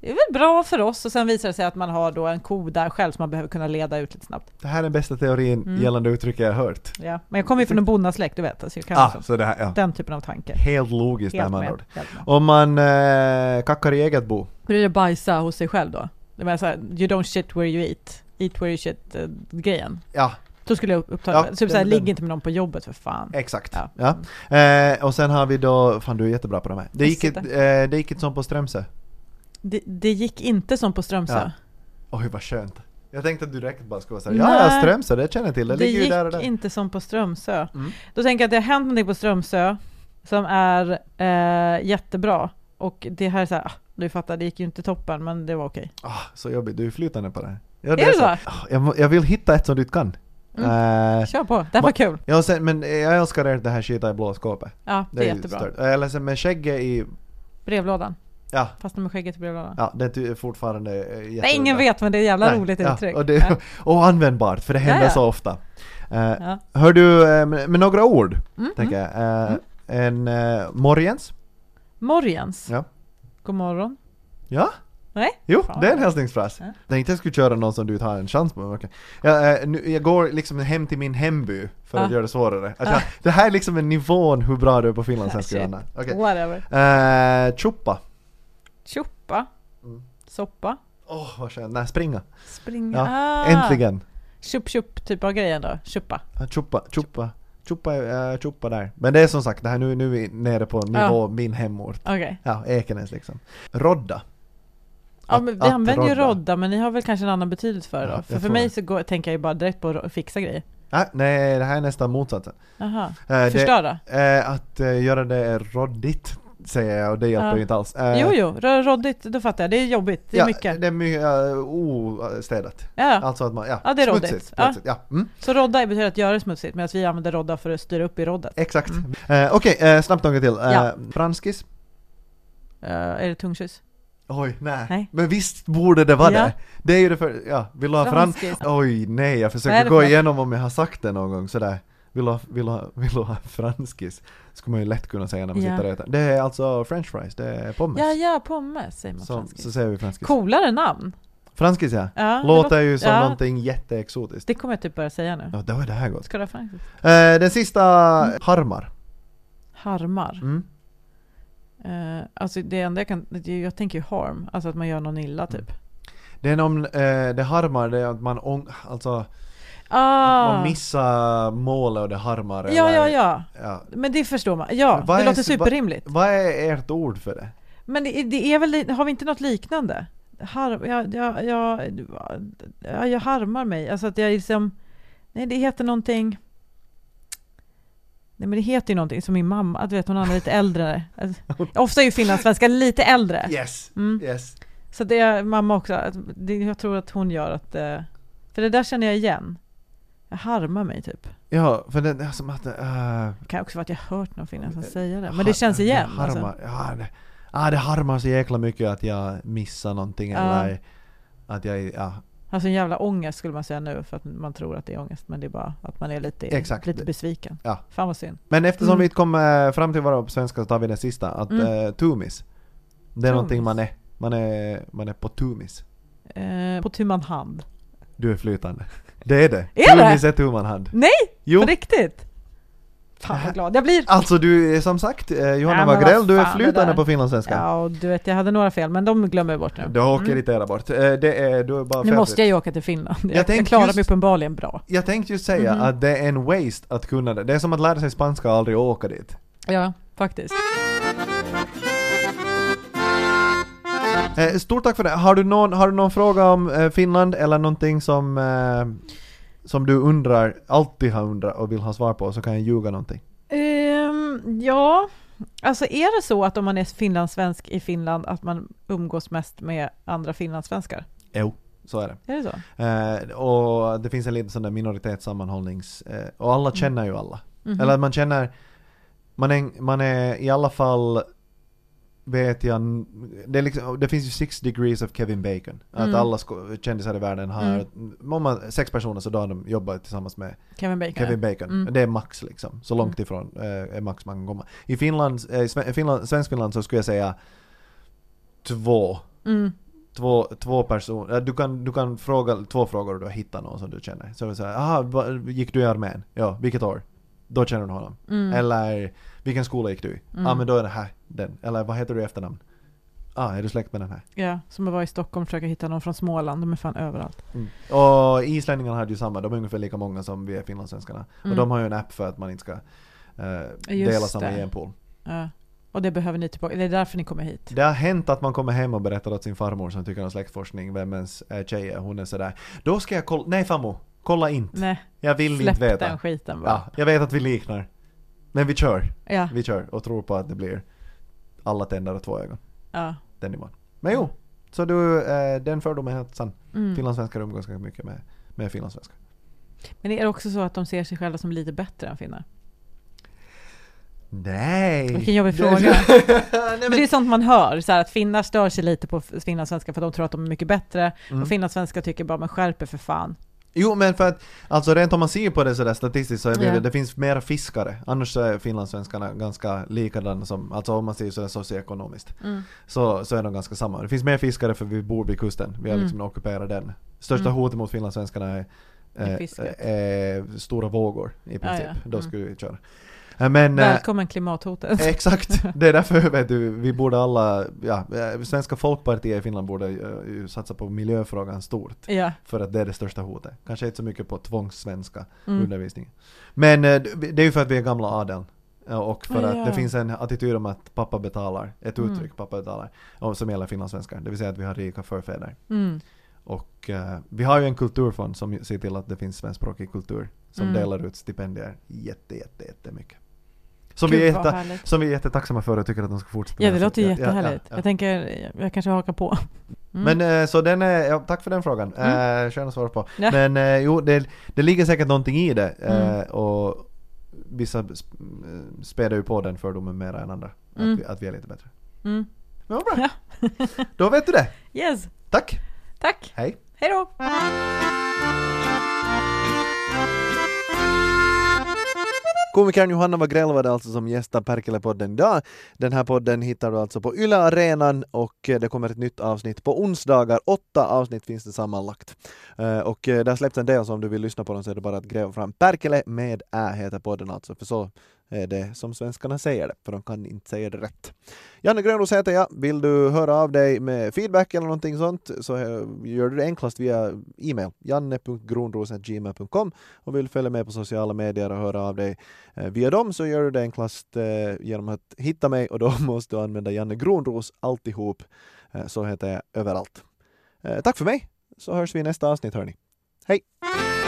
Speaker 2: Det är väl bra för oss och sen visar det sig att man har då en ko där själv som man behöver kunna leda ut lite snabbt.
Speaker 1: Det här är den bästa teorin
Speaker 2: Mm.
Speaker 1: gällande uttryck jag har hört.
Speaker 2: Ja. Men jag kommer ju från en bonnasläkt, du vet. Så jag kan
Speaker 1: Ah,
Speaker 2: också.
Speaker 1: så det här, ja.
Speaker 2: Den typen av tanke.
Speaker 1: Helt logiskt det här
Speaker 2: Helt
Speaker 1: med andra
Speaker 2: med.
Speaker 1: ord.
Speaker 2: Helt med.
Speaker 1: Om man eh, kackar i eget bo.
Speaker 2: Hur är det att bajsa hos sig själv då? Det menar såhär, you don't shit where you eat. Eat where you shit-grejen.
Speaker 1: Ja,
Speaker 2: Då skulle jag upp- uppta
Speaker 1: Ja,
Speaker 2: det. Typ såhär,
Speaker 1: den-
Speaker 2: ligg
Speaker 1: den-
Speaker 2: inte med någon på jobbet för fan.
Speaker 1: exakt.
Speaker 2: Ja.
Speaker 1: Ja. Eh, och sen har vi då, fan du är jättebra på de här. Det gick, ett,
Speaker 2: Sitta.
Speaker 1: eh, det gick ett sånt på Strömsö.
Speaker 2: Det, det gick inte som på Strömsö.
Speaker 1: Oj vad skönt. Jag tänkte att du direkt bara skulle säga ja, ja
Speaker 2: Nej.
Speaker 1: Strömsö, det känner jag till, det,
Speaker 2: det
Speaker 1: ligger ju
Speaker 2: gick
Speaker 1: där och där.
Speaker 2: inte som på Strömsö.
Speaker 1: Mm.
Speaker 2: Då tänker jag att det har hänt någonting på Strömsö som är eh, jättebra. Och det här är såhär, ah, du fattar, det gick ju inte toppen men det var okej.
Speaker 1: Ah, så jobbigt, du är flytande på det här. Ja,
Speaker 2: Är det så?
Speaker 1: Ah, Jag, må- jag vill hitta ett som du inte kan.
Speaker 2: Mm.
Speaker 1: Eh,
Speaker 2: Kör på, det här
Speaker 1: Ma-
Speaker 2: var kul.
Speaker 1: ja, och sen, men jag älskar det här skita i blå skåpet.
Speaker 2: Ja, det,
Speaker 1: Det
Speaker 2: är
Speaker 1: ju
Speaker 2: jättebra.
Speaker 1: stört. Eller sen med skägget i,
Speaker 2: Brevlådan.
Speaker 1: ja,
Speaker 2: Fast med skägget i brevlådan.
Speaker 1: ja det är ty- fortfarande eh, jättebra.
Speaker 2: Nej, ingen vet men det är jävla
Speaker 1: Nej,
Speaker 2: roligt
Speaker 1: ja,
Speaker 2: uttryck.
Speaker 1: Och, det, och användbart, för det händer
Speaker 2: Ja, ja.
Speaker 1: så ofta. Eh,
Speaker 2: Ja.
Speaker 1: Hör du, eh, med, med några ord,
Speaker 2: Mm,
Speaker 1: tänker
Speaker 2: mm.
Speaker 1: jag. Eh, En eh, morgens.
Speaker 2: Morgens.
Speaker 1: Ja.
Speaker 2: God morgon.
Speaker 1: Jo,
Speaker 2: Fan.
Speaker 1: det är en hälsningsfras.
Speaker 2: Ja.
Speaker 1: Jag tänkte jag skulle köra någon som du inte har en chans på. men okej. Jag, eh, nu, jag går liksom hem till min hemby för att
Speaker 2: Ah.
Speaker 1: göra det svårare. Att jag, det här är liksom en nivån hur bra du är på finlandssvenska,
Speaker 2: Ah, shit.
Speaker 1: Johanna. Okej.
Speaker 2: Whatever.
Speaker 1: Eh, Choppa.
Speaker 2: Choppa.
Speaker 1: Mm.
Speaker 2: Soppa.
Speaker 1: Åh, vad skönt. Nej, springa.
Speaker 2: Springa.
Speaker 1: Ja,
Speaker 2: Ah.
Speaker 1: Äntligen.
Speaker 2: Chup chup typ av grejen då. Chuppa.
Speaker 1: Ah, Choppa, choppa. Choppa, eh, choppa där. Men det är som sagt, det här nu, nu är vi nere på nivå min hemort.
Speaker 2: Okej.
Speaker 1: Ja, Ekenäs liksom. Rodda.
Speaker 2: Ja,
Speaker 1: Att-
Speaker 2: men vi
Speaker 1: att
Speaker 2: använder ju
Speaker 1: rodda.
Speaker 2: rodda men ni har väl kanske en annan betydelse för det
Speaker 1: Ja,
Speaker 2: då? För,
Speaker 1: jag
Speaker 2: för
Speaker 1: tror
Speaker 2: mig
Speaker 1: det.
Speaker 2: så går, tänker jag ju bara direkt på att ro- fixa grejer.
Speaker 1: Ah, nej, det här är nästan motsatsen.
Speaker 2: Jaha.
Speaker 1: Eh, det-
Speaker 2: Förstöra?
Speaker 1: Eh, att eh, göra det roddigt säger jag och det hjälper
Speaker 2: Ja.
Speaker 1: ju inte alls. Eh,
Speaker 2: jo, jo. Rö- Roddigt, då fattar jag. Det är jobbigt. Det är
Speaker 1: ja,
Speaker 2: mycket.
Speaker 1: Det är mycket uh, ostädat.
Speaker 2: Ja.
Speaker 1: Alltså att man, ja,
Speaker 2: Ja, det är
Speaker 1: smutsigt.
Speaker 2: råddigt. Ja.
Speaker 1: smutsigt, Ja. Mm,
Speaker 2: Så rodda betyder att göra det smutsigt medan vi använder rodda för att styra upp i roddet.
Speaker 1: exakt.
Speaker 2: Mm.
Speaker 1: Eh, Okej, eh, snabbt något till. Eh,
Speaker 2: Ja.
Speaker 1: Franskis?
Speaker 2: Eh, är det tungkyss?
Speaker 1: Oj, nej.
Speaker 2: Nej.
Speaker 1: Men visst borde det vara
Speaker 2: Ja.
Speaker 1: det? Det är ju det för, ja, vill du ha frans...
Speaker 2: Franskis.
Speaker 1: Oj, nej, jag
Speaker 2: Vad är
Speaker 1: försöker
Speaker 2: det
Speaker 1: gå
Speaker 2: för-
Speaker 1: igenom om jag har sagt det någon gång sådär. Vill du ha, vill du ha, vill du ha franskis? Skulle man ju lätt kunna säga när man
Speaker 2: Ja.
Speaker 1: sitter och äter. Det är alltså french fries, det är pommes.
Speaker 2: Ja, ja, pommes säger man
Speaker 1: så,
Speaker 2: franskis.
Speaker 1: så säger vi franskis.
Speaker 2: Coolare namn.
Speaker 1: Franskis ja.
Speaker 2: Ja, det
Speaker 1: Låter ju som
Speaker 2: ja.
Speaker 1: någonting jätteexotiskt.
Speaker 2: Det Mm. kommer jag typ börja säga nu.
Speaker 1: Ja, då är det här gott.
Speaker 2: Ska du ha franskis?
Speaker 1: Eh, den sista, harmar.
Speaker 2: Harmar.
Speaker 1: Mm.
Speaker 2: Eh, alltså det enda jag kan, det- jag tänker ju harm, alltså att man gör någon illa typ.
Speaker 1: Mm. Det är någon, eh, det harmar, det är att man ång, alltså,
Speaker 2: Ah!
Speaker 1: man missar målet och det harmar.
Speaker 2: ja,
Speaker 1: eller-
Speaker 2: ja, ja.
Speaker 1: ja.
Speaker 2: Men det förstår man. Ja,
Speaker 1: Men vad
Speaker 2: det
Speaker 1: är
Speaker 2: låter
Speaker 1: så- vad-
Speaker 2: superrimligt.
Speaker 1: Vad är ert ord för det?
Speaker 2: Men det, är- det är väl, har vi inte något liknande? Harm, jag, jag, jag, jag, jag harmar mig, alltså att jag är liksom, nej det heter någonting Nej men det heter ju någonting som min mamma, du vet hon är lite äldre. Alltså, ofta är ju finlandssvenskar lite äldre.
Speaker 1: Yes!
Speaker 2: Mm.
Speaker 1: Yes!
Speaker 2: Så det är mamma också, att det, jag tror att hon gör att... eh, För det där känner jag igen. Jag harmar mig typ.
Speaker 1: Ja, för den är som att... äh,
Speaker 2: Det kan också vara att jag hört någon finne som
Speaker 1: Eh,
Speaker 2: säger det. Men det känns
Speaker 1: har-
Speaker 2: igen.
Speaker 1: Det harmar,
Speaker 2: Alltså.
Speaker 1: ja, det, ah, det harmar så jäkla mycket att jag missar någonting
Speaker 2: Ja.
Speaker 1: eller att jag... Ja,
Speaker 2: alltså en jävla ångest skulle man säga nu för att man tror att det är ångest. Men det är bara att man är lite,
Speaker 1: Exakt.
Speaker 2: lite besviken.
Speaker 1: Ja.
Speaker 2: Fan vad synd.
Speaker 1: Men eftersom
Speaker 2: Mm.
Speaker 1: vi kom eh, fram till vara på svenska så tar vi den sista, att
Speaker 2: Mm.
Speaker 1: eh, tumis. Det är
Speaker 2: Tumis.
Speaker 1: någonting man är. Man är, man är på tumis.
Speaker 2: Eh, på tu man hand.
Speaker 1: Du är flytande. Det är det!
Speaker 2: Är det?
Speaker 1: tumis är tu man hand.
Speaker 2: Nej!
Speaker 1: Jo!
Speaker 2: På riktigt! Fan vad glad jag blir!
Speaker 1: Alltså du är som sagt, eh, Johanna
Speaker 2: Nej, men
Speaker 1: Wagrell,
Speaker 2: vad
Speaker 1: du är
Speaker 2: fan, det
Speaker 1: flytande
Speaker 2: där.
Speaker 1: på finlandssvenska.
Speaker 2: Ja, och du vet jag hade några fel men de glömmer jag bort nu.
Speaker 1: Du har åker irritera bort. Eh, det är, du är bara
Speaker 2: Nu
Speaker 1: fel-
Speaker 2: måste jag ju åka till Finland. Jag,
Speaker 1: tänkte
Speaker 2: jag klarar
Speaker 1: just-
Speaker 2: mig uppenbarligen bra.
Speaker 1: Jag tänkte ju säga
Speaker 2: Mhm.
Speaker 1: att det är en waste att kunna det. Det är som att lära sig spanska och aldrig åka dit.
Speaker 2: Ja, faktiskt.
Speaker 1: Eh, stort tack för det. Har du någon, har du någon fråga om eh, Finland eller någonting som, eh, som du undrar, alltid har undrat och vill ha svar på så kan jag ljuga någonting.
Speaker 2: Ehm, ja, alltså är det så att om man är finlandssvensk i Finland att man umgås mest med andra finlandssvenskar?
Speaker 1: Jo. Så är det.
Speaker 2: Är det så?
Speaker 1: Eh, och det finns en liten sån där minoritetssammanhållnings... Eh, och alla känner ju alla.
Speaker 2: Mm. Mhm.
Speaker 1: Eller man känner... Man är, man är i alla fall... Vet jag... Det, är liksom, det finns ju six degrees of Kevin Bacon. Att
Speaker 2: Mm.
Speaker 1: alla sko- kändisar i världen har... Om man, sex personer så då har de jobbat tillsammans med
Speaker 2: Kevin Bacon?
Speaker 1: Kevin Bacon.
Speaker 2: Mm.
Speaker 1: Det är max liksom. Så långt ifrån eh, är max man kan komma. I Finland, eh, i Sve- Finland, svensk Finland så skulle jag säga två.
Speaker 2: Mm.
Speaker 1: Två, två personer. Du kan, du kan fråga två frågor och då hitta någon som du känner. Så du säger aha, va- gick du i armén? Ja, vilket år? Då känner du honom.
Speaker 2: Mm.
Speaker 1: Eller vilken skola gick du i? Ja
Speaker 2: Mm.
Speaker 1: ah, men då är det här den. Eller vad heter du i efternamn? Ah, är du släkt med den här?
Speaker 2: Ja, som att vara i Stockholm och försöka hitta någon från Småland. De är fan överallt.
Speaker 1: Och islänningarna hade ju samma, de är ungefär lika många som vi är finlandssvenskarna.
Speaker 2: Mm.
Speaker 1: Och de har ju en app för att man inte ska eh, dela
Speaker 2: Just
Speaker 1: samma
Speaker 2: det.
Speaker 1: genpool.
Speaker 2: Mm. Ja. Och det behöver ni tillbaka. Det är därför ni kommer hit.
Speaker 1: Det har hänt att man kommer hem och berättar åt sin farmor som tycker om släktforskning vem ens eh, tjej är. Hon är sådär. Då ska jag kolla. Nej farmor, kolla inte.
Speaker 2: Nej,
Speaker 1: Jag vill
Speaker 2: släpp
Speaker 1: inte
Speaker 2: den
Speaker 1: veta.
Speaker 2: skiten bara.
Speaker 1: Ja, jag vet att vi liknar. Men vi kör.
Speaker 2: Ja.
Speaker 1: Vi kör och tror på att det blir alla tänder och två ögon.
Speaker 2: ja.
Speaker 1: Den nivån. Men jo, så du, eh, den fördomen är helt sann.
Speaker 2: Mm.
Speaker 1: Finlandssvenskar umgås ganska mycket med, med finlandssvenskar.
Speaker 2: Men är det också så att de ser sig själva som lite bättre än finnar?
Speaker 1: Nej!
Speaker 2: Vilken jobbig fråga.
Speaker 1: Nej,
Speaker 2: Men det
Speaker 1: men,
Speaker 2: är sånt man hör, så här, att finnar stör sig lite på f- finlandssvenskar för de tror att de är mycket bättre.
Speaker 1: Mm.
Speaker 2: Och finlandssvenskar tycker bara, men skärp er för fan.
Speaker 1: jo men för att, alltså rent om man ser på det sådär statistiskt så är det,
Speaker 2: Ja.
Speaker 1: det finns mera fiskare. Annars så är finlandssvenskarna ganska likadana som, alltså om man ser sådär socioekonomiskt. så, så är de ganska samma. Det finns mer fiskare för vi bor vid kusten. Vi har liksom ockuperat den. Största
Speaker 2: Mm.
Speaker 1: hotet mot finlandssvenskarna är,
Speaker 2: Är
Speaker 1: eh,
Speaker 2: fisket.
Speaker 1: eh, stora vågor i princip.
Speaker 2: ja.
Speaker 1: Då
Speaker 2: Mm.
Speaker 1: skulle vi köra. Eh, Men, eh,
Speaker 2: Välkommen klimathotet.
Speaker 1: Exakt, det är därför vet du, vi borde alla, ja, eh, svenska folkpartiet i Finland borde eh, ju satsa på miljöfrågan stort.
Speaker 2: ja.
Speaker 1: För att det är det största hotet. Kanske inte så mycket på tvångssvenska
Speaker 2: Mm.
Speaker 1: undervisningen. Men eh, det är ju för att vi är gamla adeln. Eh, Och för
Speaker 2: Ah,
Speaker 1: att
Speaker 2: ja.
Speaker 1: det finns en attityd om att pappa betalar, ett
Speaker 2: Mm.
Speaker 1: uttryck, pappa betalar, och som gäller finlandssvenskar. Det vill säga att vi har rika förfäder.
Speaker 2: Mm.
Speaker 1: Och eh, vi har ju en kulturfond som ser till att det finns svenskspråkig kultur. Som
Speaker 2: Mm.
Speaker 1: delar ut stipendier jätte, jätte, jättemycket. Som
Speaker 2: Gud,
Speaker 1: vi, är
Speaker 2: vad
Speaker 1: jätte,
Speaker 2: härligt.
Speaker 1: som vi är jättetacksamma för och tycker att de ska fortsätta
Speaker 2: Ja,
Speaker 1: med.
Speaker 2: det låter
Speaker 1: Ja,
Speaker 2: ju
Speaker 1: ja, ja,
Speaker 2: jättehärligt.
Speaker 1: ja.
Speaker 2: Jag tänker, jag kanske hakar på. Mm.
Speaker 1: Men eh, så den är, ja, tack för den frågan. Mm. Skön att svara på.
Speaker 2: Ja.
Speaker 1: Men eh, jo, det, det ligger säkert någonting i det. eh,
Speaker 2: Mm.
Speaker 1: Och vissa sp- eh, späder ju på den fördomen mer än andra.
Speaker 2: Mm.
Speaker 1: Att, vi, att vi är lite bättre.
Speaker 2: Mm.
Speaker 1: Men vad bra. Då vet du det.
Speaker 2: Yes,
Speaker 1: Tack.
Speaker 2: tack.
Speaker 1: Hej.
Speaker 2: Hej då!
Speaker 1: Komikern Johanna Wagrell var det alltså som gästar Perkele-podden idag. Den här podden hittar du alltså på Yle Arenan och eh, det kommer ett nytt avsnitt på onsdagar. Åtta avsnitt finns det sammanlagt. Eh, Och eh, det har släppts en del så om du vill lyssna på dem så är det bara att gräva fram Perkele med Ä heter podden alltså, för så är det som svenskarna säger det, för de kan inte säga det rätt. Janne Grönros heter jag. Vill du höra av dig med feedback eller någonting sånt så eh, gör du det enklast via e-mail. janne.gronros.gmail.com och vill följa med på sociala medier och höra av dig eh, via dem så gör du det enklast eh, genom att hitta mig och då måste du använda Janne Grönros alltihop. Eh, så heter jag överallt. Eh, tack för mig, så hörs vi i nästa avsnitt hörni. Hej!